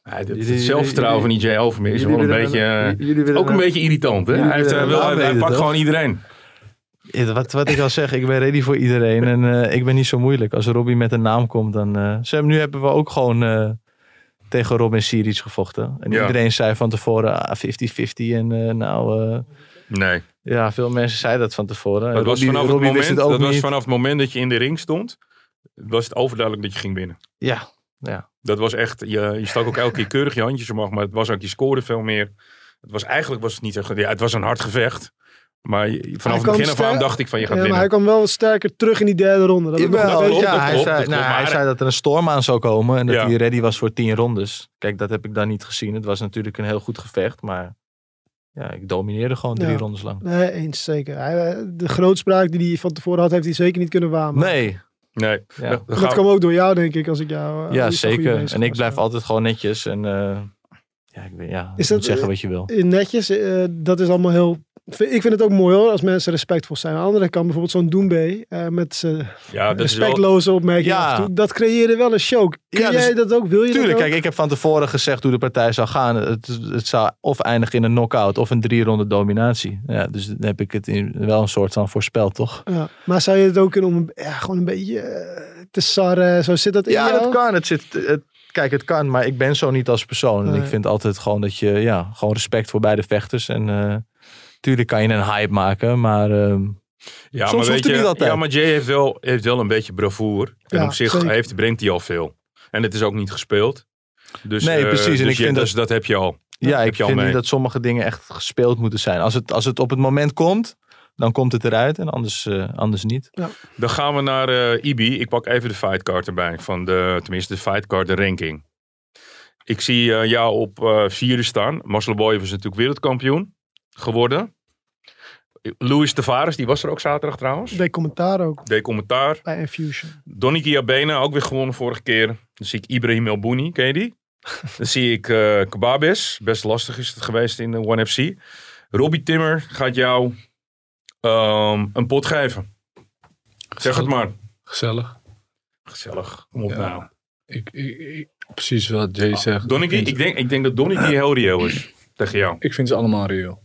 Hij, het, Jullie- het zelfvertrouwen van IJ Overmeer is wel een beetje, eh, ook een beetje irritant. Hè? jullie Hij, heeft, willen eh, een wel- naam hij- hij weten, pakt toch? gewoon iedereen. Ja, Wat, wat ik al zeg, ik ben ready voor iedereen. En eh, ik ben niet zo moeilijk. Als Robbie met een naam komt, dan... eh, Sam, nu hebben we ook gewoon eh, tegen Robin Siric gevochten. En Ja. iedereen zei van tevoren ah, 50-50. En eh, nou, eh, Nee. Ja, veel mensen zeiden dat van tevoren. Dat was, Robbie- vanaf het, Robbie wist moment, ook dat was niet. vanaf het moment dat je in de ring stond, was het overduidelijk dat je ging winnen. Ja, Dat was echt, je, je stak ook elke keer keurig je handjes omhoog, maar het was ook, je scoorde veel meer. Het was eigenlijk was het niet echt, ja, het was een hard gevecht. Maar je- vanaf het kwam begin af aan ster- dacht ik van je gaat Ja, maar winnen. hij kwam wel sterker terug in die derde ronde. Dat heb ik nog Jawel, niet klopt, weten. dat ja, hij klopt, zei, dat klopt. nou, hij Maar- zei dat er een storm aan zou komen en dat Ja. hij ready was voor tien rondes. Kijk, dat heb ik dan niet gezien. Het was natuurlijk een heel goed gevecht, maar ja, ik domineerde gewoon drie Ja. rondes lang. Nee, eens zeker. Hij, eh, de grootspraak die hij van tevoren had, heeft hij zeker niet kunnen waarmaken. Nee, Nee, Ja. dat, dat dat gaat- kwam ook door jou, denk ik, als ik jou... eh, ja, als ik een goede zeker. bezig En ik was, blijf ja. altijd gewoon netjes en eh, ja, ik weet, ja, Is je dat- moet zeggen wat je wil. Eh, Netjes, eh, dat is allemaal heel... Ik vind het ook mooi hoor, als mensen respectvol zijn. Aan de andere kant bijvoorbeeld zo'n Doembe eh met zijn ja, dat is wel- respectloze opmerkingen. Ja. af en toe, Dat creëerde wel een show. Kun Ja, dus- jij dat ook? Wil je Tuurlijk, dat ook? kijk, ik heb van tevoren gezegd hoe de partij zou gaan. Het, het zou of eindigen in een knockout of een drie ronde dominatie. Ja, dus dan heb ik het in, wel een soort van voorspeld, toch? Ja, maar zou je het ook kunnen om een- ja, gewoon een beetje eh, te sarren? Zo zit dat in Ja, jou? dat kan. Het zit, het, kijk, het kan, maar ik ben zo niet als persoon. En Nee. ik vind altijd gewoon dat je, ja, gewoon respect voor beide vechters. En eh, tuurlijk kan je een hype maken, maar ehm, ja, Soms maar hoeft weet het je, niet altijd. Ja, maar Jay heeft wel, heeft wel een beetje bravoer. En Ja, op zich zeker. heeft, brengt hij al veel. En het is ook niet gespeeld. Dus, Nee, eh, precies. En dus ik je- vind dus dat heb je al. ja, heb ik je al vind mee. niet dat sommige dingen echt gespeeld moeten zijn. Als het, als het op het moment komt, dan komt het eruit en anders, eh, anders niet. Dan gaan we naar eh Ibi. Ik pak even de fightcard erbij. Van de, tenminste, de fightcard, de ranking. Ik zie eh, jou op eh, vierde staan. Marcel Boyev is natuurlijk wereldkampioen geworden. Luis Tavares, die was er ook zaterdag trouwens. Deed commentaar ook Deed commentaar. bij Infusion. Donny Diabena, ook weer gewonnen vorige keer. Dan zie ik Ibrahim El Bouni, ken je die? Dan zie ik eh Kebabis. Best lastig is het geweest in de One FC. Robbie Timmer gaat jou ehm, een pot geven. Zeg het maar. Gezellig. Gezellig. Kom op Ja. nou. Ik, ik, ik- precies wat Jay zegt. Donnicky, ik, Ah, ik vind- denk, ik denk dat Donnicky heel reëel is tegen jou. ik vind ze allemaal reëel.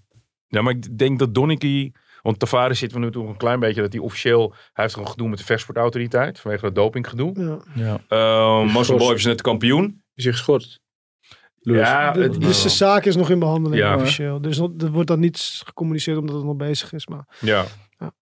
Ja, maar ik denk dat Donnicky... Want Tavares zit we nu toch een klein beetje dat hij officieel... Hij heeft een gedoe met de vechtsportautoriteit vanwege dat dopinggedoe. Ja. Ja. Ehm Marcel Geschorst. Boy is net kampioen. Is hij geschorst? Louis. Ja, De- het- dus de zaak is nog in behandeling Ja. officieel. Dus nog- er wordt dan niets gecommuniceerd omdat het nog bezig is. Maar Ja. Ja.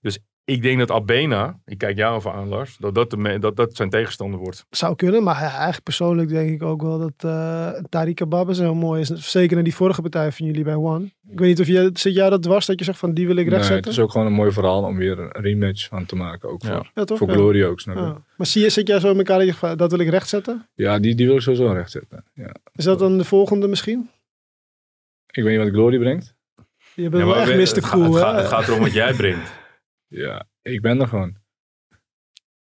Dus ik denk dat Abena, ik kijk jou even aan Lars, dat dat, de me- dat, dat zijn tegenstander wordt. zou kunnen. Maar ja, eigenlijk persoonlijk denk ik ook wel dat eh Tariq Babas heel mooi is. Zeker naar die vorige partij van jullie bij One. Ik weet niet of jij, zit jou dat dwars dat je zegt van die wil ik Nee, het rechtzetten? is ook gewoon een mooi verhaal om weer een rematch van te maken. Ook Ja. voor, ja, toch? voor Ja. Ah. Glory ook, snap je? Ja, Ja. Maar zie je, zit jij zo in elkaar dat je van, dat wil ik rechtzetten? die, die wil ik sowieso recht zetten. Ja. Is dat dan de volgende misschien? Ik weet niet wat Glory brengt. Je bent wel echt we- Mr. het, ga- het, Cool, hè? ga- het gaat erom wat jij brengt. Ja, ik ben er gewoon.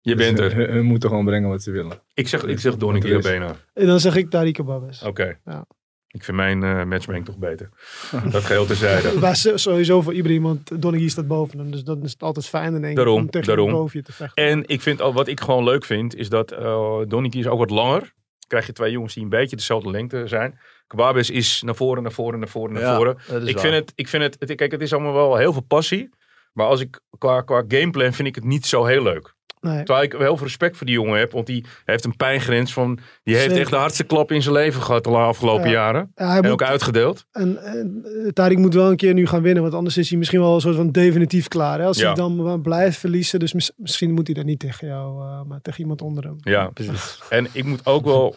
Je Dus bent eh, er. hun- hun moeten gewoon brengen wat ze willen. Ik zeg, ik zeg Donnie Want er Abena. Oké. En dan zeg ik Tariq Babas. Ja. Ik vind mijn eh matchmaking toch beter. Dat geheel terzijde. Maar zo- sowieso voor iedereen, want Donaghy staat boven hem. Dus dan is het altijd fijn in één keer Daarom, om tegen daarom. een proefje te vechten. En ik vind, al- wat ik gewoon leuk vind, is dat eh Donnie is ook wat langer. Krijg je twee jongens die een beetje dezelfde lengte zijn. Kwabes is naar voren, naar voren, naar voren, naar voren. Ik vind, het, ik vind het, het- kijk, het is allemaal wel heel veel passie. Maar als ik, qua, qua gameplan vind ik het niet zo heel leuk. Nee. Terwijl ik wel heel veel respect voor die jongen heb. Want die heeft een pijngrens van... Die heeft Zeker. echt de hardste klap in zijn leven gehad de afgelopen Ja. jaren. Ja, hij En moet, ook uitgedeeld. en, en, eh, Tariq moet wel een keer nu gaan winnen, want anders is hij misschien wel een soort van definitief klaar. Hè? Als Ja. hij dan maar blijft verliezen, dus mis- misschien moet hij dan niet tegen jou, eh, maar tegen iemand onder hem. Ja. Precies. En ik moet ook wel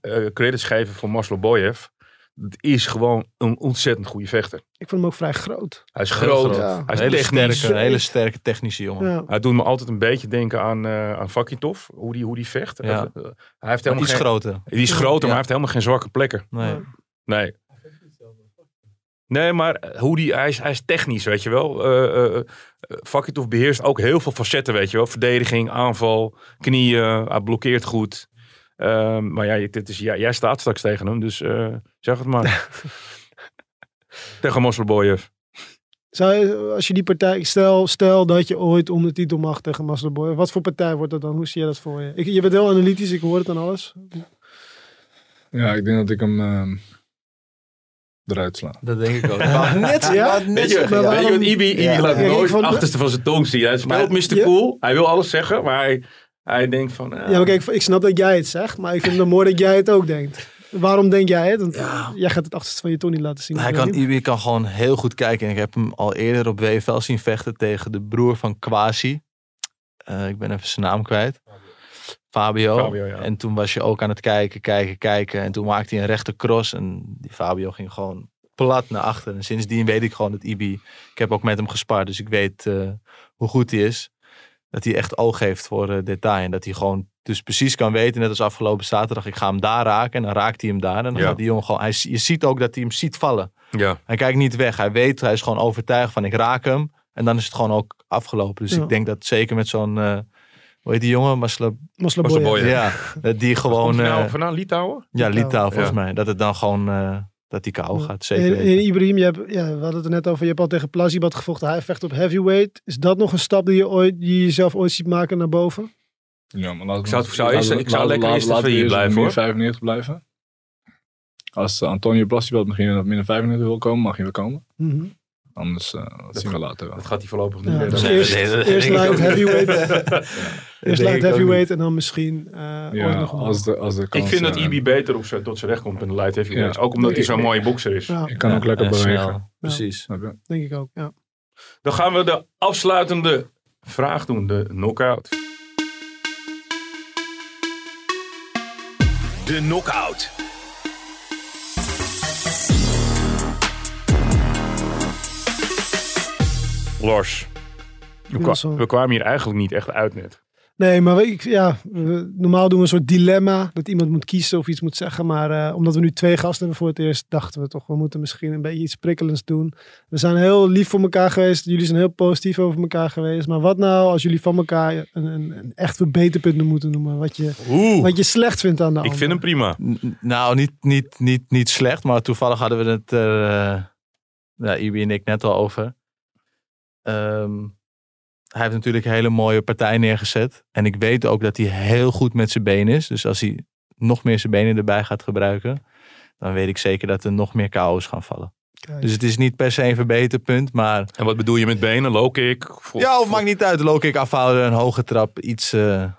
eh, credits geven voor Maslo Boyev. Het is gewoon een ontzettend goede vechter. Ik vond hem ook vrij groot. Hij is groot. groot. Ja. Hij is hele technisch. sterke, een hele sterke technische jongen. Ja. Hij doet me altijd een beetje denken aan, eh aan Vakitov. Hoe die, hoe die vecht. Ja. Dat, eh, hij heeft Maar helemaal Iets geen, groter. die is groter, maar Ja. hij heeft helemaal geen zwakke plekken. Nee. Ja. Nee. Nee, maar eh, hoe die, hij, is, hij is technisch, weet je wel. Eh eh Fakitov beheerst ook heel veel facetten, weet je wel. Verdediging, aanval, knieën, hij blokkeert goed. Ehm, maar ja, dit is, ja, jij staat straks tegen hem, dus eh, zeg het maar. tegen Mosselboyev. Zou je, als je die partij, stel, stel dat je ooit om de titel mag tegen Masterboy, wat voor partij wordt dat dan? Hoe zie je dat voor je? Ik, je bent heel analytisch, ik hoor het aan alles. Ja, ik denk dat ik hem ehm, eruit sla. Dat denk ik ook. Maar net, Ja? maar net Weet je, maar zeggen, ja. weet je wat Ibi, Ibi Ja. laat Ja, ik nooit het vond- achterste van zijn tong zien. Hij speelt Maar- Mr. Ja. Cool, hij wil alles zeggen, maar hij, hij denkt van... eh, Ja, maar kijk, ik snap dat jij het zegt, maar ik vind het mooi dat jij het ook denkt. Waarom denk jij het? Want jij gaat het achterste van je tong niet laten zien. Hij Ik kan, weet niet. Ibi kan gewoon heel goed kijken. En ik heb hem al eerder op WFL zien vechten tegen de broer van Kwasi. Eh, ik ben even zijn naam kwijt. Fabio. Fabio, ja. En toen was je ook aan het kijken, kijken, kijken. En toen maakte hij een rechte cross. En die Fabio ging gewoon plat naar achter. En sindsdien weet ik gewoon dat Ibi... Ik heb ook met hem gespaard, dus ik weet eh, hoe goed hij is. Dat hij echt oog heeft voor eh, detail. En dat hij gewoon dus precies kan weten, net als afgelopen zaterdag... ik ga hem daar raken en dan raakt hij hem daar. En dan Ja. gaat die jongen gewoon... Hij, je ziet ook dat hij hem ziet vallen. Ja. Hij kijkt niet weg. Hij weet, hij is gewoon overtuigd van ik raak hem. En dan is het gewoon ook afgelopen. Dus Ja. ik denk dat zeker met zo'n, eh hoe heet die jongen? Masla, Maslaboya. Maslaboya. Oh ja. ja, dat die gewoon, Komt hij nou eh, vandaan Litouwen? ja, Litouw Litouwen. volgens Ja. mij. Dat het dan gewoon, eh, dat die kou gaat. En, Zeker en weten. Ibrahim, je hebt, ja, we hadden het er net over. Je hebt al tegen Plazibat gevochten. Hij vecht op heavyweight. Is dat nog een stap die je, ooit, die je jezelf ooit ziet maken naar boven? Ja, maar laat, Ik zou- zou eerst- ik zou lekker eerst laten even we hier eerst op blijven, min hoor. 95 blijven. Als eh, Antonio Blasibald misschien op min 95 wil komen, mag hij wel komen. Mhm. Anders eh, dat zien we later wel. Dat gaat hij voorlopig niet Ja, meer dus doen. nee, eerst, nee, dat denk eerst ik ook light niet. heavyweight. Eerst denk light ik ook heavyweight en dan misschien eh ooit ja, nog een als de, als de kans, Ik vind dat eh, Ibi beter op zijn, tot zijn recht komt in de light heavyweights. Ja. Ook omdat hij Nee, zo'n ik- mooie bokser is. Ja, Ik kan ook Ja, lekker en bewegen. snel. Precies. Snap je? denk ik ook. Ja. Dan gaan we de afsluitende vraag doen, de knockout. De knockout. Lars, we, kwa- Wilson. we kwamen hier eigenlijk niet echt uit net. Nee, maar we- ik, ja, we- normaal doen we een soort dilemma. Dat iemand moet kiezen of iets moet zeggen. Maar eh, omdat we nu twee gasten hebben voor het eerst, dachten we toch, we moeten misschien een beetje iets prikkelends doen. We zijn heel lief voor elkaar geweest. Jullie zijn heel positief over elkaar geweest. Maar wat nou als jullie van elkaar een, een, een echt verbeterpunt moeten noemen? Wat je, Oeh, wat je slecht vindt aan de ik ander. vind hem prima. N- n- Nou, niet, niet, niet, niet slecht, maar toevallig hadden we het er, eh, ja, Ibi en ik net al over. Ehm, hij heeft natuurlijk een hele mooie partij neergezet. En ik weet ook dat hij heel goed met zijn benen is. Dus als hij nog meer zijn benen erbij gaat gebruiken, dan weet ik zeker dat er nog meer KO's gaan vallen. Kijk. Dus het is niet per se een verbeterpunt, maar... En wat bedoel je met benen? Low kick? Vo- Ja, of vo- maakt niet uit. Low kick afhouden, een hoge trap, iets, eh,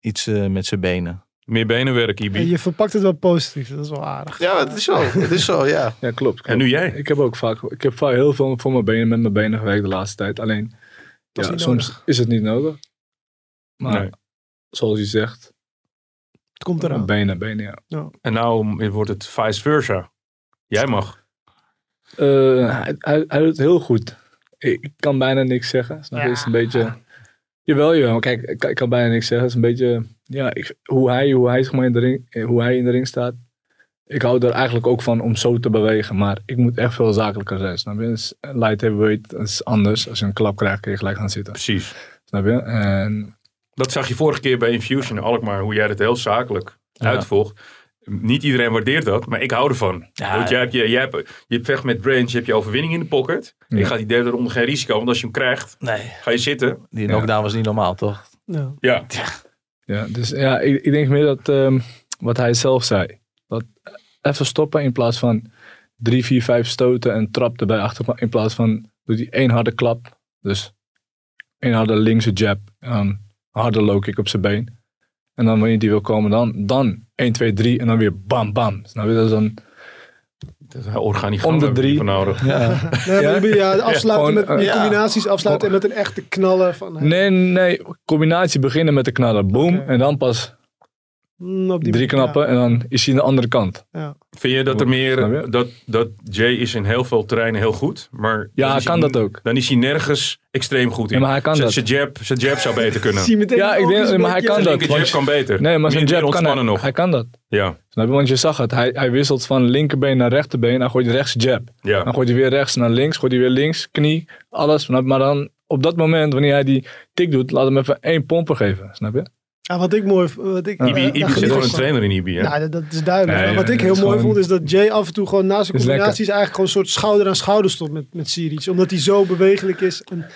iets eh, met zijn benen. Meer benenwerk, En Ibi. je verpakt het wel positief. Dat is wel aardig. Ja, het is zo. Het is zo, ja. Ja, klopt. En nu jij. Ik heb ook vaak, ik heb vaak heel veel voor mijn benen, met mijn benen gewerkt de laatste tijd. Alleen, is ja, niet soms is het niet nodig. Maar, Nee. zoals je zegt, Het komt eraan. benen, benen, ja. En nou wordt het vice versa. Jij mag. Eh, hij, hij, hij doet het heel goed. Ik, ik kan bijna niks zeggen. Snap je? Het is een beetje... Jawel, jawel. Kijk, ik, kan- ik kan bijna niks zeggen. Het is een beetje... Ja, ik, hoe, hij, hoe, hij, zeg maar, in de ring, eh, hoe hij in de ring staat. Ik hou er eigenlijk ook van om zo te bewegen. Maar ik moet echt veel zakelijker zijn. Snap je? Dus light heavyweight dat is anders. Als je een klap krijgt, kun je gelijk gaan zitten. Precies. Snap je? En Dat zag je vorige keer bij Infusion Alkmaar, hoe jij dat heel zakelijk uitvolgt. Niet iedereen waardeert dat, maar ik hou ervan. Ja. Want jij, hebt, je, jij hebt, je vecht met Brange, je hebt je overwinning in de pocket. En je Ja. gaat die derde ronde geen risico, want als je hem krijgt, Nee, ga je zitten. die knockdown was niet normaal, toch? Ja. Ja, ja, dus, ja ik, ik denk meer dat ehm, wat hij zelf zei. Dat even stoppen in plaats van drie, vier, vijf stoten en trap erbij achter. In plaats van doet hij één harde klap. Dus één harde linkse jab. En dan een harde low kick op zijn been. En dan wanneer die wil komen, dan, dan 1, 2, 3 en dan weer bam, bam. Snap je? Dat is dan dat is een organigram Om de heb ik drie. ervoor nodig. ja, Nee, maar jullie, ja, afsluiten gewoon, met die eh, ja. combinaties afsluiten en met een echte knallen van eh, Nee, nee. Combinatie beginnen met de knallen. Boom. Oké. En dan pas mm, op die drie manier, knappen. En dan is hij aan de andere kant. Vind je dat er Snap je? meer, dat, dat Jay is in heel veel terreinen heel goed, maar... Ja, dan hij is kan dat ook. Dan is hij nergens extreem goed in. Ja, maar hij kan zijn, dat. zijn jab, zijn jab zou beter Ja, kunnen. Zie je meteen Ja, die ik denk- oogjes maar hij een beetje- kan Zijn dat, linker jab want- kan beter. Nee, maar zijn Meer- meer jab kan hij, ontspannen nog. hij kan dat. Ja, Snap je? Want je zag het. Hij, hij wisselt van linkerbeen naar rechterbeen. Dan gooit hij rechts jab. ja. Dan gooit hij weer rechts naar links. Gooit hij weer links. Knie. Alles. Snap je? Maar dan op dat moment, wanneer hij die tik doet, laat hem even één pomper geven. Snap je? Ja, wat ik mooi v- wat ik, Ibi, eh, Ibi daar zit geniet gewoon ik een van. trainer in Ibi. hè? Nou, dat, dat is duidelijk. Nee, Maar wat nee, ik dat heel is mooi gewoon- vond is dat Jay af en toe gewoon naast zijn Is lekker. combinaties eigenlijk gewoon een soort schouder aan schouder stond met, met Siric. Omdat hij zo bewegelijk is. En dan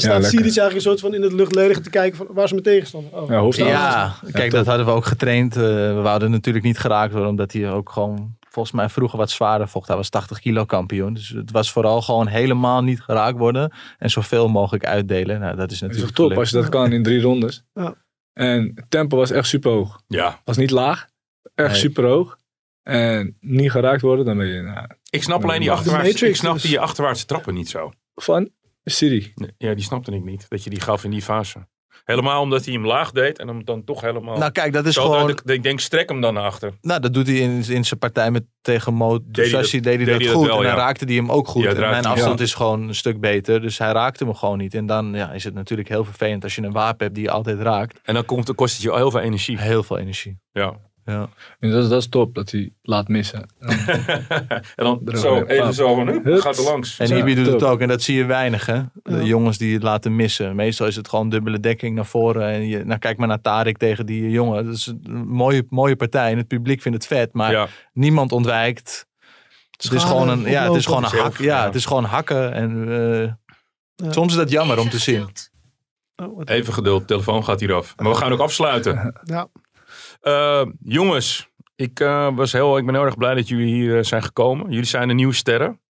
staat lekker. Siric eigenlijk een soort van in het luchtledige te kijken van waar is mijn tegenstander. Oh. Ja, hoofd Ja, kijk, dat hadden we ook getraind. Eh, we wouden natuurlijk niet geraakt worden, omdat hij ook gewoon volgens mij vroeger wat zwaarder vocht. Hij was 80 kilo kampioen. Dus het was vooral gewoon helemaal niet geraakt worden en zoveel mogelijk uitdelen. Nou, dat is Dat is toch natuurlijk top gelukt. als je dat kan in drie rondes. Ja. En het tempo was echt super hoog. Ja, was niet laag. Echt Nee. super hoog. en niet geraakt worden, dan ben je nou, Ik snap alleen die De achterwaartse, Matrix ik snap is- die achterwaartse trappen niet zo. van Siri. Nee, Ja, die snapte ik niet. Dat je die gaf in die fase. Helemaal omdat hij hem laag deed en hem dan toch helemaal... Nou, kijk, dat is Zo, gewoon. dat ik- ik denk, strek hem dan naar achter. Nou, dat doet hij in, in zijn partij met, tegen Mo. hij dat- Sassi deed hij dat, goed. wel, en dan ja. raakte hij hem ook goed. Ja, het en mijn raakte- afstand is gewoon een stuk beter. Dus hij raakte hem gewoon niet. En dan ja, is het natuurlijk heel vervelend als je een wapen hebt die je altijd raakt. En dan komt, kost het je heel veel energie. Heel veel energie. Ja. Ja. En dat, is- dat is top, dat hij laat missen. en dan Droog zo, weer. even zo van, hup, Hups. gaat er langs. En Ja, Ibi doet het top. ook. En dat zie je weinig, hè? De Ja. jongens die het laten missen. Meestal is het gewoon dubbele dekking naar voren. En je, nou, kijk maar naar Tarek tegen die jongen. Dat is een mooie, mooie partij. En het publiek vindt het vet. Maar Ja. niemand ontwijkt. Het is Schade gewoon een, ja, het oplopen. is gewoon een Zelf, hak. Ja, ja. het is gewoon hakken. En, eh, Ja. Soms is dat jammer om te zien. Oh, wat- Even geduld, telefoon gaat hier af. Maar we gaan ook afsluiten. Ja. Eh, jongens, ik, eh, was heel, ik ben heel erg blij dat jullie hier eh, zijn gekomen. Jullie zijn de nieuwe sterren.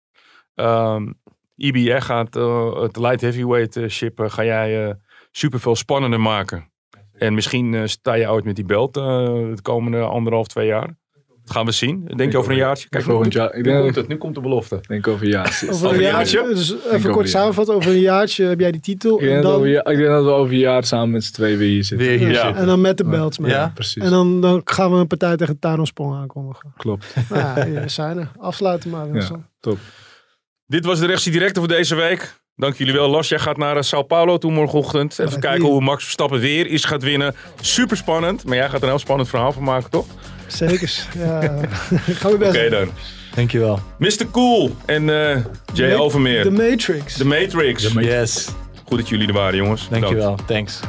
Ehm Ibi, jij gaat eh, het light heavyweight eh, ship eh, ga jij eh super veel spannender maken. En misschien eh, sta je ooit met die belt eh het komende anderhalf, twee jaar. Dat gaan we zien. Denk je over een jaartje? Kijk, nu volgend komt, jaar. Ik nu denk, komt dat- het, nu komt de belofte. ik denk over ja. Ik Over een een jaartje. jaartje? Dus over even een kort jaartje. samenvatten. Over een jaartje heb jij die titel. denk, en, dat dan, we, ik denk dat we over een jaar samen met z'n tweeën weer hier zitten. Weer hier Ja. zitten. en dan met de belts mee. Ja? Precies. En dan, dan gaan we een partij tegen Thanos Pong aankondigen. Klopt. Nou ja, we zijn er. Afsluiten maar, Wilson. Top. Dit was de rechtsie directe voor deze week. Dank jullie wel, Las. Jij gaat naar eh, Sao Paulo toe morgenochtend. Even Ja, kijken die- hoe Max Verstappen weer is gaat winnen. Super spannend. Maar jij gaat er een heel spannend verhaal van maken, toch? Oké Zeker. Ja. Gaan we best doen. dan. Dankjewel. Mr. Cool en eh Jay Ma- Overmeer. De De Matrix. Matrix. Yes. Goed dat jullie er waren, jongens. Bedankt. Dankjewel. Thanks.